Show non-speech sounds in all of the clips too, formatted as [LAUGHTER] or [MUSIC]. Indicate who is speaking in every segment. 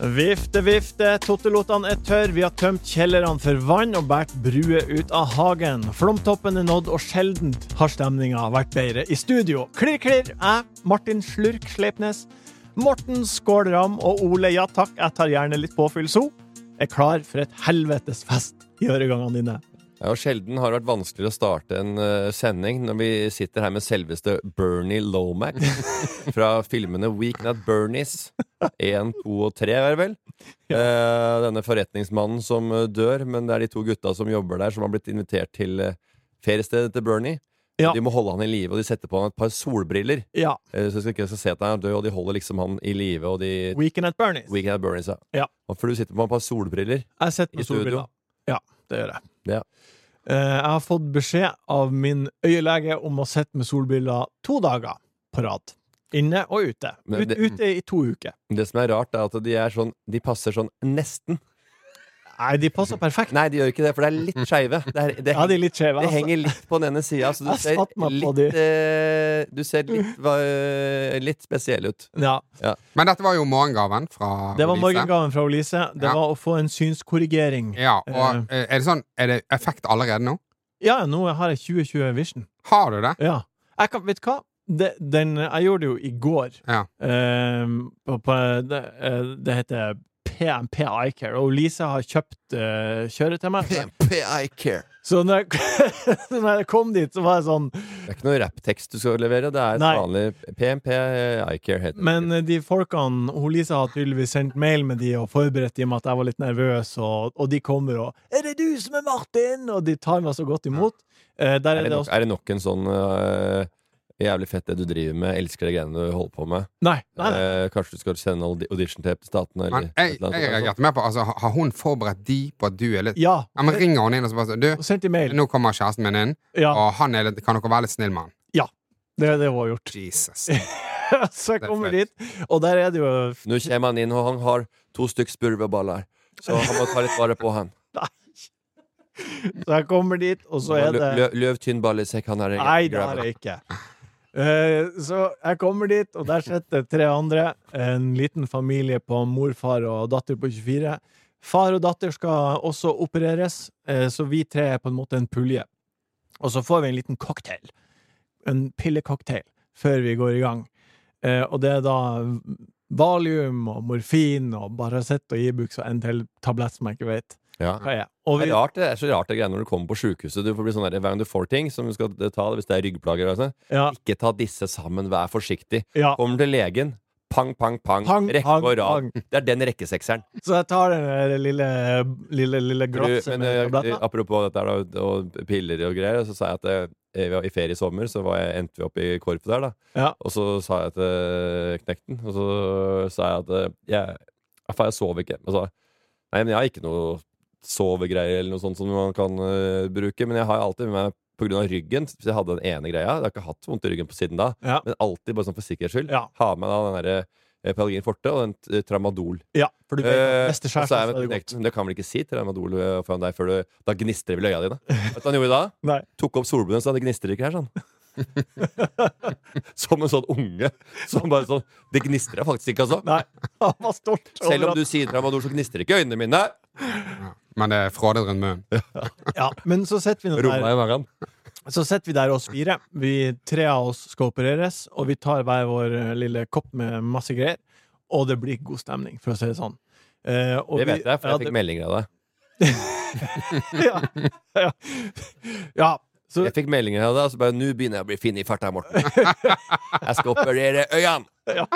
Speaker 1: Vifte, vifte, tottelotene er tørr, vi har tømt kjellerne for vann og båret bruer ut av hagen. Flomtoppen er nådd, og sjeldent har stemninga vært bedre. I studio, klirr, klirr, jeg, Martin Slurk Sleipnes, Morten Skål Ram og Ole Ja takk, jeg tar gjerne litt påfyll so, er klar for et helvetes fest i øregangene dine.
Speaker 2: Ja, og Sjelden har det vært vanskeligere å starte en eh, sending når vi sitter her med selveste Bernie Lomac fra filmene Weekend at Bernies 1, 2 og 3, er det vel? Eh, denne forretningsmannen som eh, dør, men det er de to gutta som jobber der, som har blitt invitert til eh, feriestedet til Bernie.
Speaker 1: Ja.
Speaker 2: De må holde han i live, og de setter på han et par solbriller.
Speaker 1: Ja,
Speaker 2: eh, Så jeg ikke skal se at han er død, og de holder liksom han i live. Og de
Speaker 1: Weekend at Bernies.
Speaker 2: Weekend at Bernies,
Speaker 1: Ja.
Speaker 2: Og For du sitter på et par solbriller.
Speaker 1: Jeg sitter
Speaker 2: I
Speaker 1: på
Speaker 2: studio?
Speaker 1: storbilder. Ja, det gjør jeg.
Speaker 2: Ja.
Speaker 1: Eh, Jeg har fått beskjed av min øyelege om å sitte med solbriller to dager på rad. Inne og ute.
Speaker 2: Men
Speaker 1: Ut,
Speaker 2: det-
Speaker 1: ute i to uker.
Speaker 2: Det som er rart, er at de, er sånn, de passer sånn nesten.
Speaker 1: Nei, de passer perfekt.
Speaker 2: Nei, de gjør ikke det, for det er litt skeive. Det, er- det,
Speaker 1: Ja, de er litt skjeve.
Speaker 2: det
Speaker 1: altså.
Speaker 2: henger litt på den ene sida, så du
Speaker 1: Jeg
Speaker 2: ser
Speaker 1: satt meg på
Speaker 2: litt, eh, du ser litt, va- litt spesiell ut.
Speaker 1: Ja,
Speaker 3: Men dette var jo morgengaven fra
Speaker 1: det var
Speaker 3: Lise.
Speaker 1: morgengaven fra Olise. Det
Speaker 3: Ja.
Speaker 1: var å få en synskorrigering.
Speaker 3: Ja, og eh, er det sånn Er det effekt allerede nå?
Speaker 1: Ja, nå har jeg 2020 Vision.
Speaker 3: Har du det?
Speaker 1: Ja. Jeg kan, vet du hva? Det, den, jeg gjorde det jo i går.
Speaker 3: Ja.
Speaker 1: Eh, på, på, det, eh, det heter PMP Eyecare, og Lise har kjøpt eh, kjøret til meg.
Speaker 2: PI Care.
Speaker 1: Så når jeg, [LAUGHS] når jeg kom dit, så var jeg sånn
Speaker 2: Det er ikke noe rapptekst du skal levere, det er et
Speaker 1: Nei.
Speaker 2: vanlig PMP iCare heter det.
Speaker 1: Men eh, de folkene hun Lisa har tydeligvis sendt mail med de og forberedt dem at jeg var litt nervøs, og, og de kommer og 'Er det du som er Martin?' Og de tar meg så godt imot. Eh, der
Speaker 2: er,
Speaker 1: er
Speaker 2: det
Speaker 1: det
Speaker 2: nok,
Speaker 1: også
Speaker 2: er det nok en sånn eh, jævlig fett det du driver med, elsker det greiene du holder på med?
Speaker 1: Nei, nei, nei.
Speaker 2: Eh, kanskje du skal sende audi- audition-tape til statene? Eller
Speaker 3: Men jeg,
Speaker 2: et eller annet
Speaker 3: jeg
Speaker 2: sånt.
Speaker 3: reagerte mer på altså, Har hun forberedt de på at du er litt
Speaker 1: Ja.
Speaker 3: Ja, men ringer hun inn og så bare sånn Du,
Speaker 1: Og sendt i mail.
Speaker 3: nå kommer kjæresten min inn,
Speaker 1: Ja,
Speaker 3: og han er litt Kan dere være litt snill med han?
Speaker 1: det er det hun har gjort. [LAUGHS]
Speaker 3: Jesus.
Speaker 1: så jeg
Speaker 3: Det er
Speaker 1: kommer
Speaker 3: flaut.
Speaker 1: dit, og der er det jo
Speaker 2: Nå kommer han inn, og han har to stykk spurveballer. Så han må ta litt vare på han.
Speaker 1: Så jeg kommer dit, og så er
Speaker 2: Han har
Speaker 1: det
Speaker 2: lø- lø- Løvtynn ballesekk han har.
Speaker 1: Nei, det har jeg ikke. Eh, så jeg kommer dit, og der sitter tre andre. En liten familie på mor, far og datter på 24. Far og datter skal også opereres, eh, så vi tre er på en måte en pulje. Og så får vi en liten cocktail. En pillecocktail før vi går i gang. Eh, og det er da valium og morfin og Baracet og Ibux og en til tablett som jeg ikke vet
Speaker 2: Ja.
Speaker 1: hva er. Og
Speaker 2: Det
Speaker 1: vi,
Speaker 2: er, rart, det er så rart det greiene når du kommer på sjukehuset. Du får bli sånn der, Hver gang du får ting som du skal ta hvis det er ryggplager og sånn,
Speaker 1: ja,
Speaker 2: ikke ta disse sammen, vær forsiktig.
Speaker 1: ja.
Speaker 2: Kommer til legen, pang, pang, pang.
Speaker 1: Pang,
Speaker 2: rekke
Speaker 1: pang,
Speaker 2: og rad.
Speaker 1: pang.
Speaker 2: Det er den rekkesekseren.
Speaker 1: Så jeg tar den der lille, lille, lille
Speaker 2: Du,
Speaker 1: glasset
Speaker 2: men,
Speaker 1: med
Speaker 2: eh,
Speaker 1: tabletter.
Speaker 2: apropos dette her, da, og piller og greier, så sa jeg at eh, vi var i ferie i sommer, så var jeg, endte vi opp i korpet der, da.
Speaker 1: Ja.
Speaker 2: Og så sa jeg til eh, knekten, og så sa jeg at eh, jeg, ja, faen, jeg sover ikke. Og så, nei, men jeg har ikke noe sovegreier eller noe sånt som man kan eh, bruke, men jeg har alltid med meg på grunn av ryggen, hvis jeg hadde den ene greia, jeg har ikke hatt vondt i ryggen på siden da,
Speaker 1: Ja.
Speaker 2: men alltid bare sånn for sikkerhets skyld,
Speaker 1: Ja.
Speaker 2: ha med da den der eh, Pelagin Forte og den eh, Tramadol.
Speaker 1: Ja, for du vet
Speaker 2: Eh,
Speaker 1: at
Speaker 2: og
Speaker 1: neste
Speaker 2: så er
Speaker 1: skjær,
Speaker 2: jeg
Speaker 1: så er
Speaker 2: med
Speaker 1: det godt.
Speaker 2: knekten, det kan vel ikke si Tramadol eh, foran deg før du, da gnistrer det vel i øya dine. Vet du hva han gjorde da?
Speaker 1: Nei.
Speaker 2: tok opp solbrillene, så det gnistrer ikke her, sånn. [LAUGHS] som en sånn unge. Som bare sånn Det gnistrer faktisk ikke, altså.
Speaker 1: Nei, [LAUGHS] han var stolt. over
Speaker 2: Selv om
Speaker 1: at-
Speaker 2: du sier tramador, så gnistrer ikke øynene mine.
Speaker 3: Men det er frådet rundt munnen.
Speaker 1: Eh. Ja, men så sitter vi nå
Speaker 2: Rumpa
Speaker 1: der,
Speaker 2: i magen.
Speaker 1: så sitter vi der oss fire. Vi, tre av oss skal opereres, og vi tar hver vår eh, lille kopp med masse greier. Og det blir god stemning, for å si det sånn. Eh, og
Speaker 2: Det
Speaker 1: vi-
Speaker 2: vet jeg, for
Speaker 1: ja,
Speaker 2: jeg fikk meldinger av deg.
Speaker 1: det- ja, ja. ja, så
Speaker 2: Jeg fikk meldinger av deg, og så bare 'Nå begynner jeg å bli fin i farta,
Speaker 1: [LAUGHS]
Speaker 2: Morten'. Jeg skal operere øynene!
Speaker 1: Ja.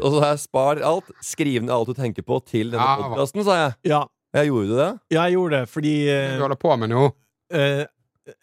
Speaker 2: Og så har jeg spar alt, skriv ned alt du tenker på, til denne
Speaker 3: Ja, hva?
Speaker 2: podkasten, sa jeg.
Speaker 1: ja,
Speaker 2: Jeg gjorde det.
Speaker 1: jeg gjorde det fordi eh,
Speaker 3: Du holder på med noe.
Speaker 1: eh,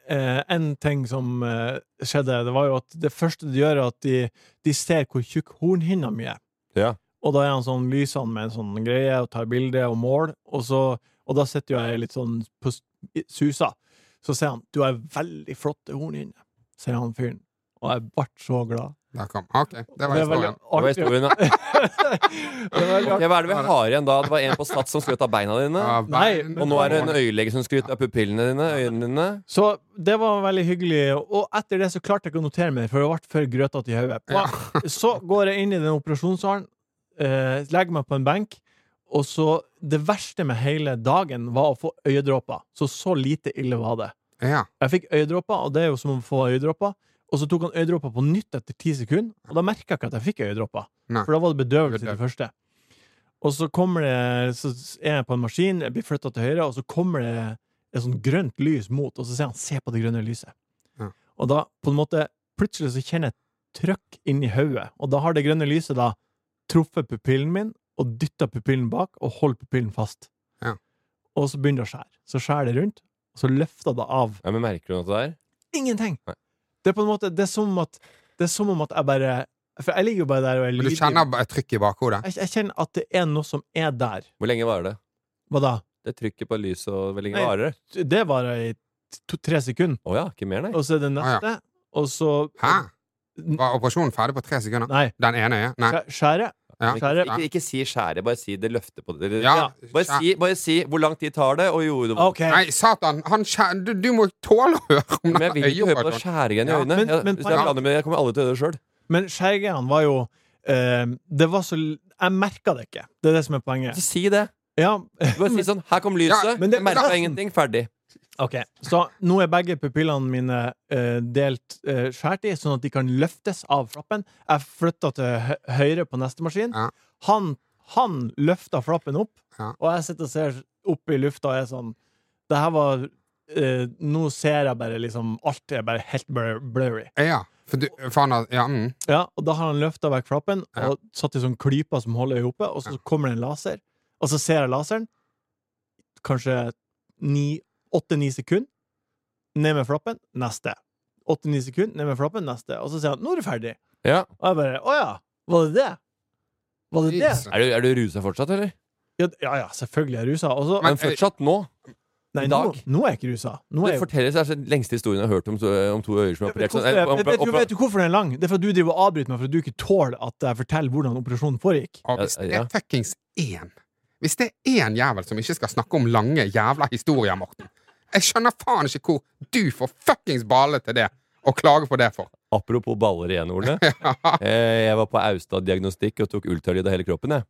Speaker 1: eh, en ting som eh, skjedde, det var jo at det første de gjør, er at de, de ser hvor tjukk hornhinna mi er.
Speaker 2: Ja.
Speaker 1: Og da er han sånn, lyser han med en sånn greie og tar bilde og mål, og, så, og da sitter jo jeg litt sånn på s- i- susa. Så sier han 'du har veldig flotte horn inne', sier han fyren. Og jeg ble så glad.
Speaker 3: Der kom. OK, det var
Speaker 1: er veldig
Speaker 3: historien.
Speaker 2: Det var
Speaker 1: artig.
Speaker 2: historien, da.
Speaker 1: [LAUGHS] Det er veldig
Speaker 2: Ok, hva er det vi har igjen da? Det var en på Sats som skrøt av beina dine.
Speaker 3: Ja,
Speaker 1: Nei,
Speaker 3: bein-
Speaker 1: men-
Speaker 2: Og nå er det en øyelege som skryter av pupillene dine, øynene dine.
Speaker 1: Så det var veldig hyggelig, og etter det så klarte jeg ikke å notere meg, for det ble for grøtete i hodet. så går jeg inn i den operasjonssalen, eh, legger meg på en benk, og så Det verste med hele dagen var å få øyedråper. Så så lite ille var det.
Speaker 3: Ja.
Speaker 1: Jeg fikk øyedråper, og det er jo som å få øyedråper. Og så tok han øyedråper på nytt etter ti sekunder, og da merka jeg ikke at jeg fikk øyedråper.
Speaker 3: Nei.
Speaker 1: For da var det bedøvelse til
Speaker 3: Bedøv-
Speaker 1: det første. Og så kommer det Så er jeg på en maskin, jeg blir flytta til høyre, og så kommer det et sånt grønt lys mot, og så sier han 'se på det grønne lyset'.
Speaker 3: Ja.
Speaker 1: Og da, på en måte, plutselig så kjenner jeg et trøkk inni hodet, og da har det grønne lyset da truffet pupillen min og dytta pupillen bak og holdt pupillen fast.
Speaker 3: Ja.
Speaker 1: Og så begynner det å skjære. Så skjærer det rundt, og så løfter det av
Speaker 2: Ja, men Merker du noe til det der?
Speaker 1: ingenting.
Speaker 2: Nei.
Speaker 1: Det er på en måte Det er som om at, det er som om at jeg bare For jeg ligger jo bare der og er
Speaker 3: Men du
Speaker 1: lydig.
Speaker 3: kjenner bare et trykk i bakhodet?
Speaker 1: Jeg, jeg kjenner at det er noe som er der.
Speaker 2: Hvor lenge varer det?
Speaker 1: Hva da?
Speaker 2: Det trykket på lyset og hvor lenge
Speaker 1: Nei.
Speaker 2: varer det?
Speaker 1: Det varer i to, tre sekunder,
Speaker 2: Å ja, ikke mer, nei.
Speaker 1: og så er det
Speaker 3: Ah,
Speaker 1: neste, og så
Speaker 3: Hæ? Var operasjonen ferdig på tre sekunder?
Speaker 1: Nei.
Speaker 3: Den ene øyet? Nei.
Speaker 1: skjæ- Skjære.
Speaker 3: Ja.
Speaker 2: Men
Speaker 1: skjære.
Speaker 2: Ikke, ikke, ikke si skjære, bare si det løftet på det.
Speaker 3: Ja.
Speaker 2: Bare, si, bare si hvor lang tid tar det, og gjorde det vondt.
Speaker 1: Ah, OK.
Speaker 3: Nei, satan! Han skjæ- du, du må tåle å høre om
Speaker 2: Men
Speaker 3: den
Speaker 2: jeg vil ikke høre på det
Speaker 3: øyeoperasjonen.
Speaker 2: skjæringen i
Speaker 3: Ja,
Speaker 2: øynene.
Speaker 1: men-
Speaker 2: Jeg-
Speaker 1: men
Speaker 2: Hvis jeg,
Speaker 1: poenget-
Speaker 2: blander med- jeg kommer aldri til å gjøre det sjøl.
Speaker 1: Men skjærgreiene var jo eh, Det var så l- Jeg merka det ikke. Det er det som er poenget.
Speaker 2: Så si det.
Speaker 1: Ja,
Speaker 2: Bare si sånn Her kom lyset.
Speaker 3: Ja,
Speaker 1: men det-
Speaker 2: jeg
Speaker 1: [LAUGHS]
Speaker 2: merka
Speaker 1: men-
Speaker 2: ingenting. Ferdig.
Speaker 1: OK. Så nå er begge pupillene mine eh, delt eh, skåret i, sånn at de kan løftes av flappen. Jeg flytta til hø høyre på neste maskin.
Speaker 3: Ja.
Speaker 1: Han, han løfta flappen opp,
Speaker 3: Ja.
Speaker 1: og jeg sitter og ser opp i lufta og er sånn Det her var eh, Nå ser jeg bare liksom Alt er bare helt blur blurry.
Speaker 3: Ja. For, du, for han har Ja. Mm.
Speaker 1: Ja, og da har han løfta vekk flappen
Speaker 3: Ja.
Speaker 1: og satt i sånn klyper som holder øyet oppe, og så
Speaker 3: Ja.
Speaker 1: kommer det en laser, og så ser jeg laseren, kanskje ni- åtte-ni sekunder, ned med flappen, neste. Åtte-ni sekunder, ned med flappen, neste. Og så sier han 'nå er du ferdig'.
Speaker 2: Ja.
Speaker 1: Og jeg bare 'å ja, var det det?' Var det det?
Speaker 3: Jesus.
Speaker 2: Er du, er du rusa fortsatt, eller?
Speaker 1: Ja, ja, ja, selvfølgelig er jeg rusa. Og så
Speaker 2: Men
Speaker 3: Men-
Speaker 2: fortsatt nå.
Speaker 1: Nei,
Speaker 2: i
Speaker 1: nå,
Speaker 2: dag?
Speaker 1: nå er jeg ikke rusa. Nå er
Speaker 2: Det
Speaker 1: jeg jo
Speaker 2: fortelles det er den lengste historien jeg har hørt om, to- om to øyer som er operert.
Speaker 1: Vet du
Speaker 2: Sånn,
Speaker 1: hvorfor-
Speaker 2: eh,
Speaker 1: vet- vet du-
Speaker 2: opera-
Speaker 1: vet du hvorfor den er lang? Det er for at du driver og avbryter meg for at du ikke tåler at jeg forteller hvordan operasjonen foregikk.
Speaker 3: Og hvis det
Speaker 2: Ja, ja.
Speaker 3: er fuckings én Hvis det er én jævel som ikke skal snakke om lange jævla historier, Morten Jeg skjønner faen ikke hvor du får fuckings bale til det og klage på det for.
Speaker 2: Apropos baller igjen,
Speaker 1: [LAUGHS]
Speaker 2: Ole. Eh, Jeg var på Austad diagnostikk og tok ultralyd av hele kroppen. Jeg.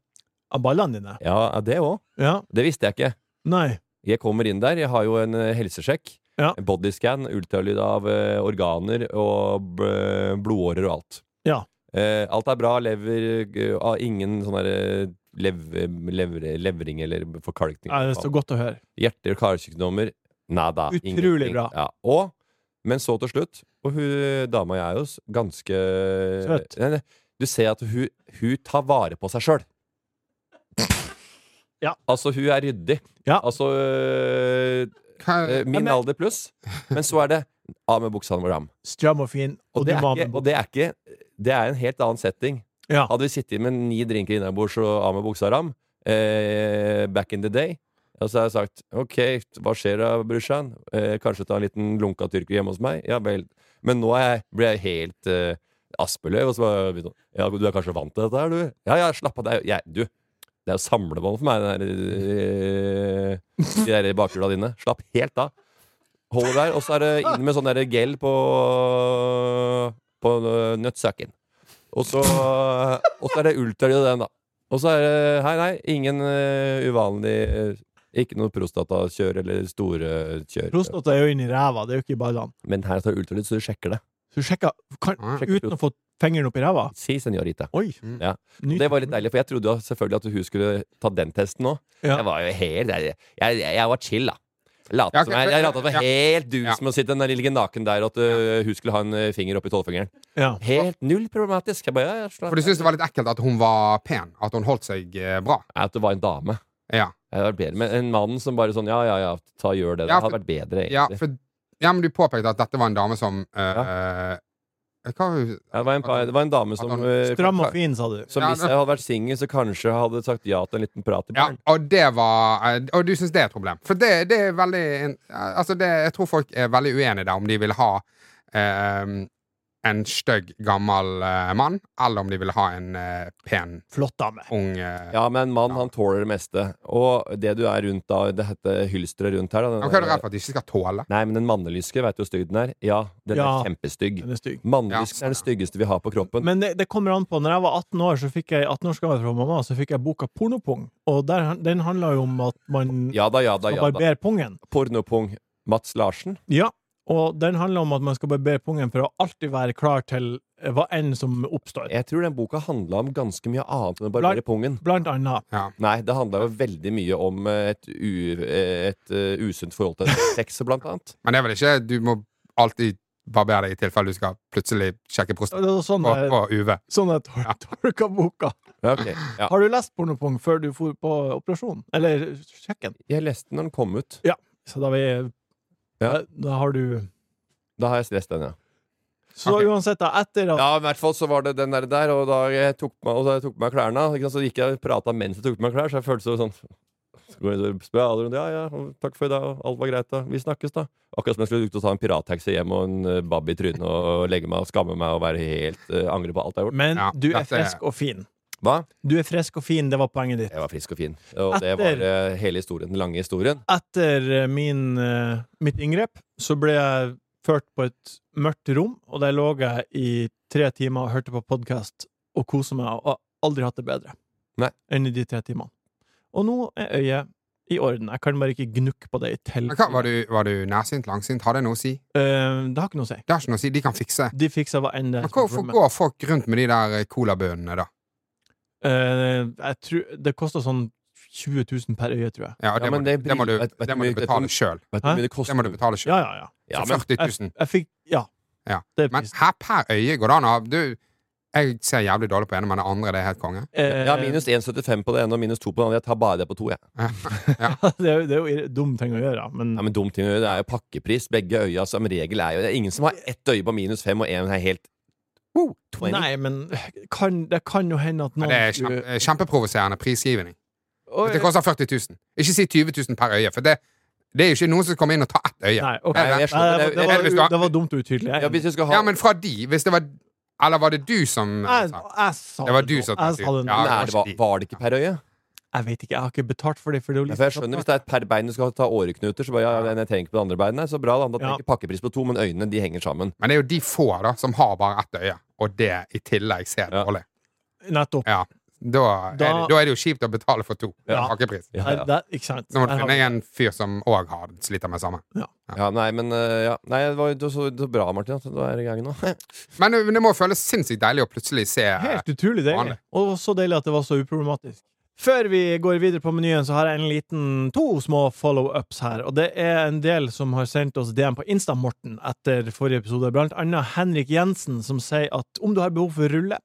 Speaker 1: Av ballene dine.
Speaker 2: Ja, det òg.
Speaker 1: Ja.
Speaker 2: Det visste jeg ikke.
Speaker 1: Nei.
Speaker 2: Jeg kommer inn der, jeg har jo en eh, helsesjekk.
Speaker 1: Ja.
Speaker 2: En Bodyscan, ultralyd av eh, organer og b blodårer og alt.
Speaker 1: Ja.
Speaker 2: Eh, alt er bra, lever g- ah, Ingen sånn derre lev, lever, levring eller forkalkning.
Speaker 1: Ja, det er så godt å høre.
Speaker 2: Hjerte- og karsykdommer. Nada.
Speaker 1: Utrolig
Speaker 2: ingenting.
Speaker 1: bra.
Speaker 2: Ja. Og, men så til slutt Og hun dama jeg er hos, ganske
Speaker 1: Søt.
Speaker 2: Nei, nei, Du ser at hun, hun tar vare på seg sjøl.
Speaker 1: Ja.
Speaker 2: Altså, hun er ryddig.
Speaker 1: Ja.
Speaker 2: Altså øh,
Speaker 3: Hva,
Speaker 2: øh, Min
Speaker 1: men-
Speaker 2: alder pluss. Men så er det av med buksa når ram.
Speaker 1: Stram og fin.
Speaker 2: Og,
Speaker 1: Og,
Speaker 2: det,
Speaker 1: du
Speaker 2: er
Speaker 1: var
Speaker 2: ikke,
Speaker 1: med
Speaker 2: og det er ikke Det er en helt annen setting.
Speaker 1: Ja.
Speaker 2: Hadde vi sittet med ni drinker innabords og av med buksa ram eh, back in the day, og så har jeg sagt OK, hva skjer da, brorsan? Eh, kanskje ta en liten lunkatyrker hjemme hos meg? Ja vel. Men nå er jeg, blir jeg helt eh, Aspeløv. Og så bare begynner hun, Ja, du er kanskje vant til dette her, du? Ja, ja, slapp av. Det er, jo- jeg, du, det er jo samlebånd for meg, den der, eh, de der bakhjula dine. Slapp helt av. Hold det der. Og så er det inn med sånn der gel på, på nøttsaken. Og så, og så er det ultralyd av den, da. Og så er det Hei, nei, ingen eh, uvanlig eh, Ikke noe prostatakjør eller store kjør.
Speaker 1: Prostata er jo inni ræva, det er jo ikke i ballene.
Speaker 2: Men her tar du ultralyd, så du sjekker det.
Speaker 1: Så sjekka kan,
Speaker 2: Mm,
Speaker 3: Ja.
Speaker 1: uten å få fingeren opp i ræva.
Speaker 2: Si, senorita.
Speaker 1: Oi!
Speaker 3: Mm.
Speaker 2: Ja.
Speaker 1: Ny-
Speaker 2: Det var litt deilig, for jeg trodde jo selvfølgelig at hun skulle ta den testen òg.
Speaker 1: Ja.
Speaker 2: Jeg var jo helt Jeg, jeg, jeg var chill, da. Latet
Speaker 3: Ja, ok,
Speaker 2: som jeg, jeg latet som jeg
Speaker 3: ja.
Speaker 2: helt dus
Speaker 3: Ja.
Speaker 2: med å sitte den der lille naken der, at eh, hun skulle ha en eh, finger oppi tolvfingeren.
Speaker 1: Ja.
Speaker 2: Helt null problematisk. Jeg bare, ja, ja, slapp.
Speaker 3: For du syntes det var litt ekkelt at hun var pen? At hun holdt seg eh, bra?
Speaker 2: At det var en dame.
Speaker 3: Ja.
Speaker 2: Det hadde vært bedre med en mann som bare sånn Ja, ja, ja, ta, gjør det.
Speaker 3: Ja,
Speaker 2: det hadde
Speaker 3: for-
Speaker 2: vært bedre,
Speaker 3: Ja,
Speaker 2: egentlig.
Speaker 3: for, ja, men du påpekte at dette var en dame som eh, Hva
Speaker 2: Ja, det, var en, par- det var en dame som eh,
Speaker 1: Stram og fin, sa du.
Speaker 2: Som
Speaker 3: Ja,
Speaker 2: hvis
Speaker 3: det-
Speaker 2: jeg hadde vært singel, så kanskje jeg hadde sagt ja til en liten prat i
Speaker 3: Ja,
Speaker 2: baren.
Speaker 3: og det var eh, Og du syns det er et problem. For det, det er veldig en- Altså, det, jeg tror folk er veldig uenige der om de vil ha eh, en stygg, gammel eh, mann, eller om de vil ha en eh, pen,
Speaker 1: Flott dame.
Speaker 3: ung eh.
Speaker 2: Ja, men en mann, han tåler det meste. Og det du er rundt da, det heter hylsteret rundt her, da. den
Speaker 3: Hva er du
Speaker 2: der-
Speaker 3: redd for at de ikke skal tåle?
Speaker 2: Nei, men den mannelyske, veit du hvor stygg den er? Ja, den
Speaker 1: Ja.
Speaker 2: er kjempestygg.
Speaker 1: Den er stygg.
Speaker 2: Mannlysken er den styggeste vi har på kroppen.
Speaker 1: Men det, det kommer an på. Når jeg var 18 år, så fikk jeg 18-årsgave fra mamma, så fikk jeg boka Pornopung. Og der, den handla jo om at man
Speaker 2: Ja da, ja da,
Speaker 1: skal
Speaker 2: ja da.
Speaker 1: barbere pungen.
Speaker 2: Pornopung. Mats Larsen.
Speaker 1: Ja. Og den handler om at man skal barbere pungen for å alltid være klar til eh, hva enn som oppstår.
Speaker 2: Jeg tror den boka handla om ganske mye annet enn å barbere
Speaker 1: Lar-
Speaker 2: pungen.
Speaker 1: Blant annet.
Speaker 2: Nei, det handla jo veldig mye om eh, et, u, eh, et eh, usunt forhold til sex, blant annet.
Speaker 3: Men det er vel ikke Du må alltid barbere deg i tilfelle du skal plutselig sjekke
Speaker 1: Og
Speaker 3: prostata
Speaker 1: Det var sånn jeg,
Speaker 3: på UV.
Speaker 1: sånn jeg [LAUGHS] tol- tolka boka.
Speaker 2: Ja, ok. ja.
Speaker 1: Har du lest Pornopung før du for på operasjon? Eller sjekken?
Speaker 2: Jeg leste den når den kom ut.
Speaker 1: Så da, vi,
Speaker 2: Ja.
Speaker 1: da, da har du
Speaker 2: Da har jeg stress den, ja.
Speaker 1: Så
Speaker 3: Ok.
Speaker 1: uansett, da, etter at
Speaker 2: Ja, i hvert fall så var det den der, der og da jeg tok på meg, og da jeg tok på meg klærne, ikke sant, så gikk jeg og prata mens jeg tok på meg klær, så jeg følte så sånn så går jeg og spør alle rundt, ja, ja, takk for i dag, og alt var greit, da. Vi snakkes, da. Akkurat som jeg skulle ut og ta en pirattaxi hjem og en eh, babb i trynet og legge meg og skamme meg og være helt eh, angre på alt jeg har gjort.
Speaker 1: Men
Speaker 3: Ja,
Speaker 1: du er
Speaker 3: dette er-
Speaker 1: frisk og fin.
Speaker 2: Hva?
Speaker 1: Du er frisk og fin, det var poenget ditt.
Speaker 2: Jeg var frisk og fin. Og det
Speaker 1: Etter-
Speaker 2: var eh, hele historien, den lange historien.
Speaker 1: Etter eh, min, eh, mitt inngrep så ble jeg ført på et mørkt rom, og der lå jeg i tre timer og hørte på podkast og kosa meg, og har aldri hatt det bedre
Speaker 2: Nei.
Speaker 1: enn i de tre timene. Og nå er øyet i orden. Jeg kan bare ikke gnukke på det i telt.
Speaker 3: Men hva, var, du, var du nærsynt? Langsynt? Har det noe å si?
Speaker 1: Eh, det har ikke noe å si.
Speaker 3: Det har ikke noe å si. De kan fikse.
Speaker 1: De fiksa hva enn det
Speaker 3: Men
Speaker 1: som
Speaker 3: hvorfor
Speaker 1: var med.
Speaker 3: går folk rundt med de der eh, colabønnene, da?
Speaker 1: Eh, jeg tror, det koster sånn 20 000 per øye, tror jeg.
Speaker 3: Ja, det,
Speaker 2: Ja,
Speaker 3: må,
Speaker 2: men
Speaker 3: du-
Speaker 2: det blir-
Speaker 3: det må du,
Speaker 2: vet- vet
Speaker 3: det
Speaker 2: du
Speaker 3: må du
Speaker 2: mye- vet
Speaker 3: betale
Speaker 2: du-
Speaker 3: sjøl.
Speaker 2: Vet du hvor mye det
Speaker 3: Det må du
Speaker 2: koster?
Speaker 3: betale selv.
Speaker 1: Ja, ja, ja.
Speaker 2: Ja,
Speaker 3: Så
Speaker 2: men
Speaker 3: 40
Speaker 1: Jeg,
Speaker 3: 000.
Speaker 1: jeg fikk Ja.
Speaker 3: Ja.
Speaker 1: Det er
Speaker 3: Men
Speaker 1: pris.
Speaker 3: her per øye går det an å ha Du, jeg ser jævlig dårlig på ene, men det andre det er helt konge.
Speaker 1: Eh,
Speaker 2: Ja, minus 1,75 på det ene og minus 2 på det andre. Jeg tar bare det på to, jeg.
Speaker 1: [LAUGHS] det, er jo, det er jo irre- dum ting å gjøre, men
Speaker 2: Ja, men dumt ting å gjøre, Det er jo pakkepris. Begge øya som regel er jo Det er ingen som har ett øye på minus fem, og én er helt Woo, 20.
Speaker 1: Nei, men kan, det kan jo hende at
Speaker 3: Ja,
Speaker 1: noen
Speaker 3: Det er
Speaker 1: skulle-
Speaker 3: kjempe, kjempeprovoserende prisgivning.
Speaker 1: Oi,
Speaker 3: Det koster 40 000. Ikke si 20 000 per øye, for det, det er jo ikke noen som kommer inn og tar ett øye.
Speaker 1: Nei, ok.
Speaker 2: Nei,
Speaker 1: Nei,
Speaker 2: jeg
Speaker 1: det,
Speaker 2: skjønner,
Speaker 1: var,
Speaker 2: det-
Speaker 1: det,
Speaker 3: det- hvis du
Speaker 1: var,
Speaker 3: har-
Speaker 1: det var dumt og utydelig. Jeg,
Speaker 2: Ja, hvis vi skal ha
Speaker 3: Ja, men fra de, hvis det var Eller var det du som
Speaker 1: jeg,
Speaker 3: sa
Speaker 1: jeg sa
Speaker 3: Det var
Speaker 1: det
Speaker 3: du
Speaker 1: nå.
Speaker 3: som
Speaker 1: jeg
Speaker 3: tok
Speaker 1: sa
Speaker 3: ut.
Speaker 1: det nå.
Speaker 3: Ja,
Speaker 2: Nei, det var, var det ikke per øye?
Speaker 1: Jeg vet ikke, jeg har ikke betalt for det. For det er jo
Speaker 2: Ja,
Speaker 1: litt
Speaker 2: for jeg skjønner Hvis det er et per bein du skal ta åreknuter, så bare ja, ja, jeg trenger ikke på det andre beinet. Så bra, da. Da
Speaker 1: Ja.
Speaker 2: tenker jeg pakkepris på to, men øynene de henger sammen.
Speaker 3: Men det er jo de få da som har bare ett øye, og det i tillegg ser
Speaker 2: Ja.
Speaker 3: dårlig.
Speaker 1: Nettopp.
Speaker 3: Ja. Da, er det,
Speaker 1: Da-
Speaker 3: da er det jo kjipt å betale for to.
Speaker 1: Ja.
Speaker 3: Pakkepris.
Speaker 2: Ja,
Speaker 1: Nei,
Speaker 2: ja.
Speaker 1: det, ikke sant.
Speaker 3: Så må du
Speaker 1: Jeg har-
Speaker 3: finne en fyr som òg sliter med det samme.
Speaker 2: ja nei, men eh, ja. Nei, det var jo så, så bra, Martin, at du er i gang nå. [LAUGHS]
Speaker 3: Men det- men det må føles sinnssykt deilig å plutselig se eh,
Speaker 1: Helt utrolig deilig.
Speaker 3: vanlig.
Speaker 1: Og så deilig at det var så uproblematisk. Før vi går videre på menyen, så har jeg en liten to små follow-ups her. Og det er en del som har sendt oss DM på Insta, Morten, etter forrige episode. Blant annet Henrik Jensen, som sier at om du har behov for rulle,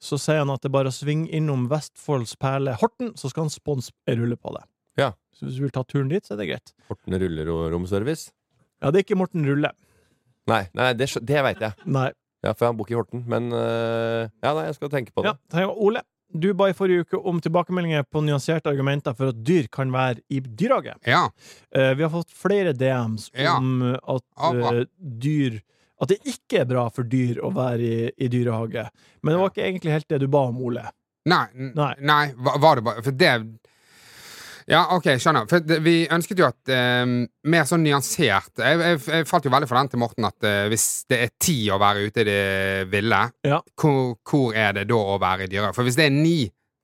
Speaker 1: så sier han at det er bare å svinge innom Vestfolds perle Horten, så skal han sponse en rulle på det.
Speaker 2: Ja.
Speaker 1: Så hvis du vil ta turen dit, så er det greit.
Speaker 2: Horten ruller og romservice?
Speaker 1: Ja, det er ikke Morten Rulle.
Speaker 2: Nei, nei det, skjø- det veit jeg.
Speaker 1: Nei.
Speaker 2: Ja, For han bor ikke i Horten. Men eh, ja, nei, jeg skal tenke på det.
Speaker 1: Ja, det var Ole, du ba i forrige uke om tilbakemeldinger på nyanserte argumenter for at dyr kan være i dyrehage.
Speaker 3: Ja.
Speaker 1: Eh, vi har fått flere DMs
Speaker 3: Ja.
Speaker 1: om eh, at
Speaker 3: Ja, bra.
Speaker 1: eh, dyr At det ikke er bra for dyr å være i, i dyrehage. Men det var ikke egentlig helt det du ba om, Ole.
Speaker 3: Nei, n-
Speaker 1: Nei.
Speaker 3: nei var, var det bare For det Ja, OK, skjønner. For det, vi ønsket jo at eh, mer sånn nyansert jeg, jeg, jeg falt jo veldig for den til Morten at eh, hvis det er ti å være ute i det ville,
Speaker 1: Ja.
Speaker 3: hvor, hvor er det da å være i dyrehage? For hvis det er ni,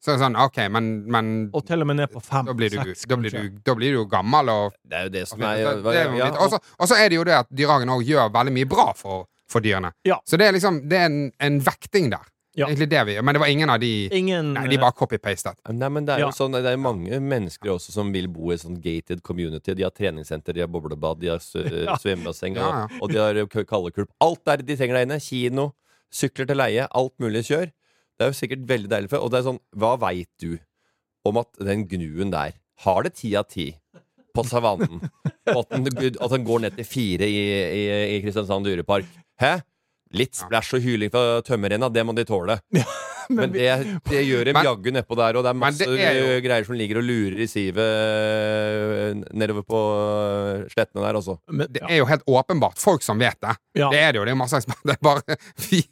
Speaker 3: så er det sånn OK, men, men
Speaker 1: Og til og med ned på fem.
Speaker 3: da blir, du,
Speaker 1: seks,
Speaker 3: da, blir
Speaker 1: kanskje.
Speaker 3: du, da blir du jo gammel og
Speaker 2: Det er jo det som
Speaker 3: Det
Speaker 2: er
Speaker 3: er jo
Speaker 2: ja,
Speaker 3: litt- også- Og så er det jo det at dyrehagen òg gjør veldig mye bra for, for dyrene.
Speaker 1: Ja.
Speaker 3: Så det er liksom Det er en, en vekting der.
Speaker 1: Ja.
Speaker 3: Egentlig det vi Men det var ingen av de
Speaker 1: Ingen
Speaker 3: Nei, de bare copy-pastet.
Speaker 2: Nei, men det er
Speaker 1: Ja.
Speaker 2: jo sånn, det er mange mennesker også som vil bo i sånn gated community. De har treningssenter, de har boblebad, de har s-
Speaker 1: [LAUGHS]
Speaker 2: eh,
Speaker 1: Ja.
Speaker 2: svømmebasseng,
Speaker 3: Ja, ja.
Speaker 2: og- og de har eh, k- kaldekulp. Alt er det de trenger der inne. Kino, sykler til leie, alt mulig kjør. Det er jo sikkert veldig deilig for Og det er sånn, hva veit du om at den gnuen der har det ti av ti på savannen? Og at den, at den går ned til fire i, i, i Kristiansand dyrepark? Hæ? Litt splæsj og hyling fra tømmerrenna, det må de
Speaker 3: [LAUGHS]
Speaker 2: tåle. Men det, det gjør dem
Speaker 3: Men-
Speaker 2: jaggu nedpå der, og det er
Speaker 3: Men
Speaker 2: masse
Speaker 3: det er jo-
Speaker 2: eh, greier som ligger og lurer i sivet eh, nedover på eh, slettene der også.
Speaker 1: Men,
Speaker 3: Det
Speaker 1: ja.
Speaker 3: er jo helt åpenbart folk som vet det.
Speaker 1: Ja.
Speaker 3: Det er det jo. Det er jo masse eksperter. [LAUGHS] Det er bare vi,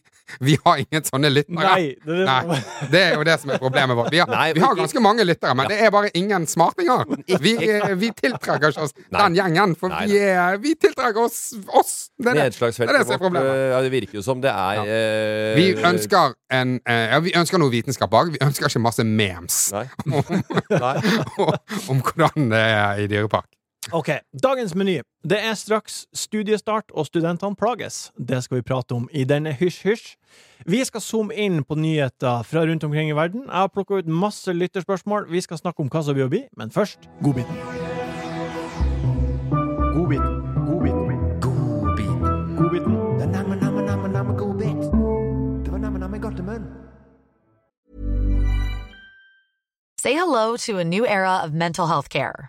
Speaker 3: vi har ingen sånne lyttere.
Speaker 1: Nei, det er det som-
Speaker 3: Nei, det er jo det som er problemet vårt. Vi har,
Speaker 2: Nei,
Speaker 3: vi har
Speaker 2: vi-
Speaker 3: ganske mange lyttere, men det er bare ingen
Speaker 2: [LAUGHS]
Speaker 3: smartinger. Vi, eh, vi tiltrekker ikke oss
Speaker 2: Nei.
Speaker 3: den gjengen, for
Speaker 2: Nei,
Speaker 3: vi, er, vi tiltrekker oss oss. Det er det. det er det
Speaker 2: Nedslagsfeltet
Speaker 3: som er
Speaker 2: vårt
Speaker 3: problemet.
Speaker 2: eh, ja, det virker jo som det er
Speaker 3: Ja.
Speaker 2: eh,
Speaker 3: Vi ønsker, en, eh, ja, vi ønsker noe vitenskap bak. Vi ønsker ikke masse memes
Speaker 2: [LAUGHS] Nei.
Speaker 3: om, om hvordan det er i dyrepark.
Speaker 1: [LAUGHS] Ok, dagens meny. Det er straks studiestart, og studentene plages. Det skal vi prate om i denne hysj-hysj. Vi skal zoome inn på nyheter fra rundt omkring i verden. Jeg har plukka ut masse lytterspørsmål. Vi skal snakke om hva som blir å bli, men først godbiten. Godbiten. Godbiten. Godbiten.
Speaker 4: Say hello to a new era of mental health care.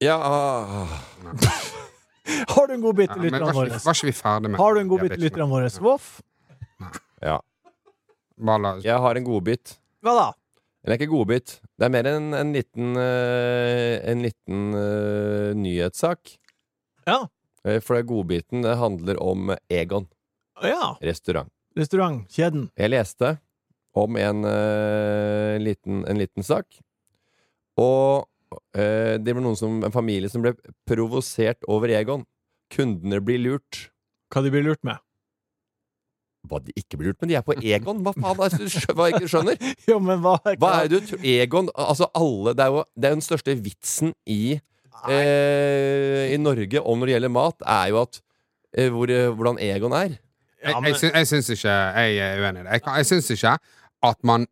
Speaker 2: Ja, ah.
Speaker 1: Har du en godbit
Speaker 3: Ja,
Speaker 1: til
Speaker 3: men
Speaker 1: lytterne
Speaker 3: var, ikke vi-
Speaker 1: våre?
Speaker 3: var ikke vi ferdig med
Speaker 1: Har du en godbit til
Speaker 3: diabetesen?
Speaker 1: lytterne våre? Voff?
Speaker 2: ja.
Speaker 3: Bare la-
Speaker 2: Jeg har en godbit.
Speaker 1: Hva da?
Speaker 2: Eller ikke godbit. Det er mer en, en liten, eh, en liten eh, nyhetssak.
Speaker 1: Ja.
Speaker 2: Eh, For det er godbiten det handler om Egon
Speaker 1: ja.
Speaker 2: restaurant.
Speaker 1: Restaurantkjeden.
Speaker 2: Jeg leste om en, eh, liten, en liten sak. Og eh, det var noen som, en familie som ble provosert over Egon. Kundene blir lurt.
Speaker 1: Hva de blir lurt med? [LAUGHS]
Speaker 2: Hva de ikke blir lurt med? De er på Egon! Hva faen? er det du skjø- Hva jeg ikke skjønner?
Speaker 1: Jo, men hva
Speaker 2: Hva er det du tror? Egon Altså alle Det er jo det er jo den største vitsen i eh, I Norge om når det gjelder mat, er jo at eh, hvor, eh, hvordan Egon er.
Speaker 1: Ja,
Speaker 3: Jeg,
Speaker 1: men-
Speaker 3: jeg, syns, jeg syns ikke Jeg er uenig i det. Jeg, kan- jeg syns ikke at man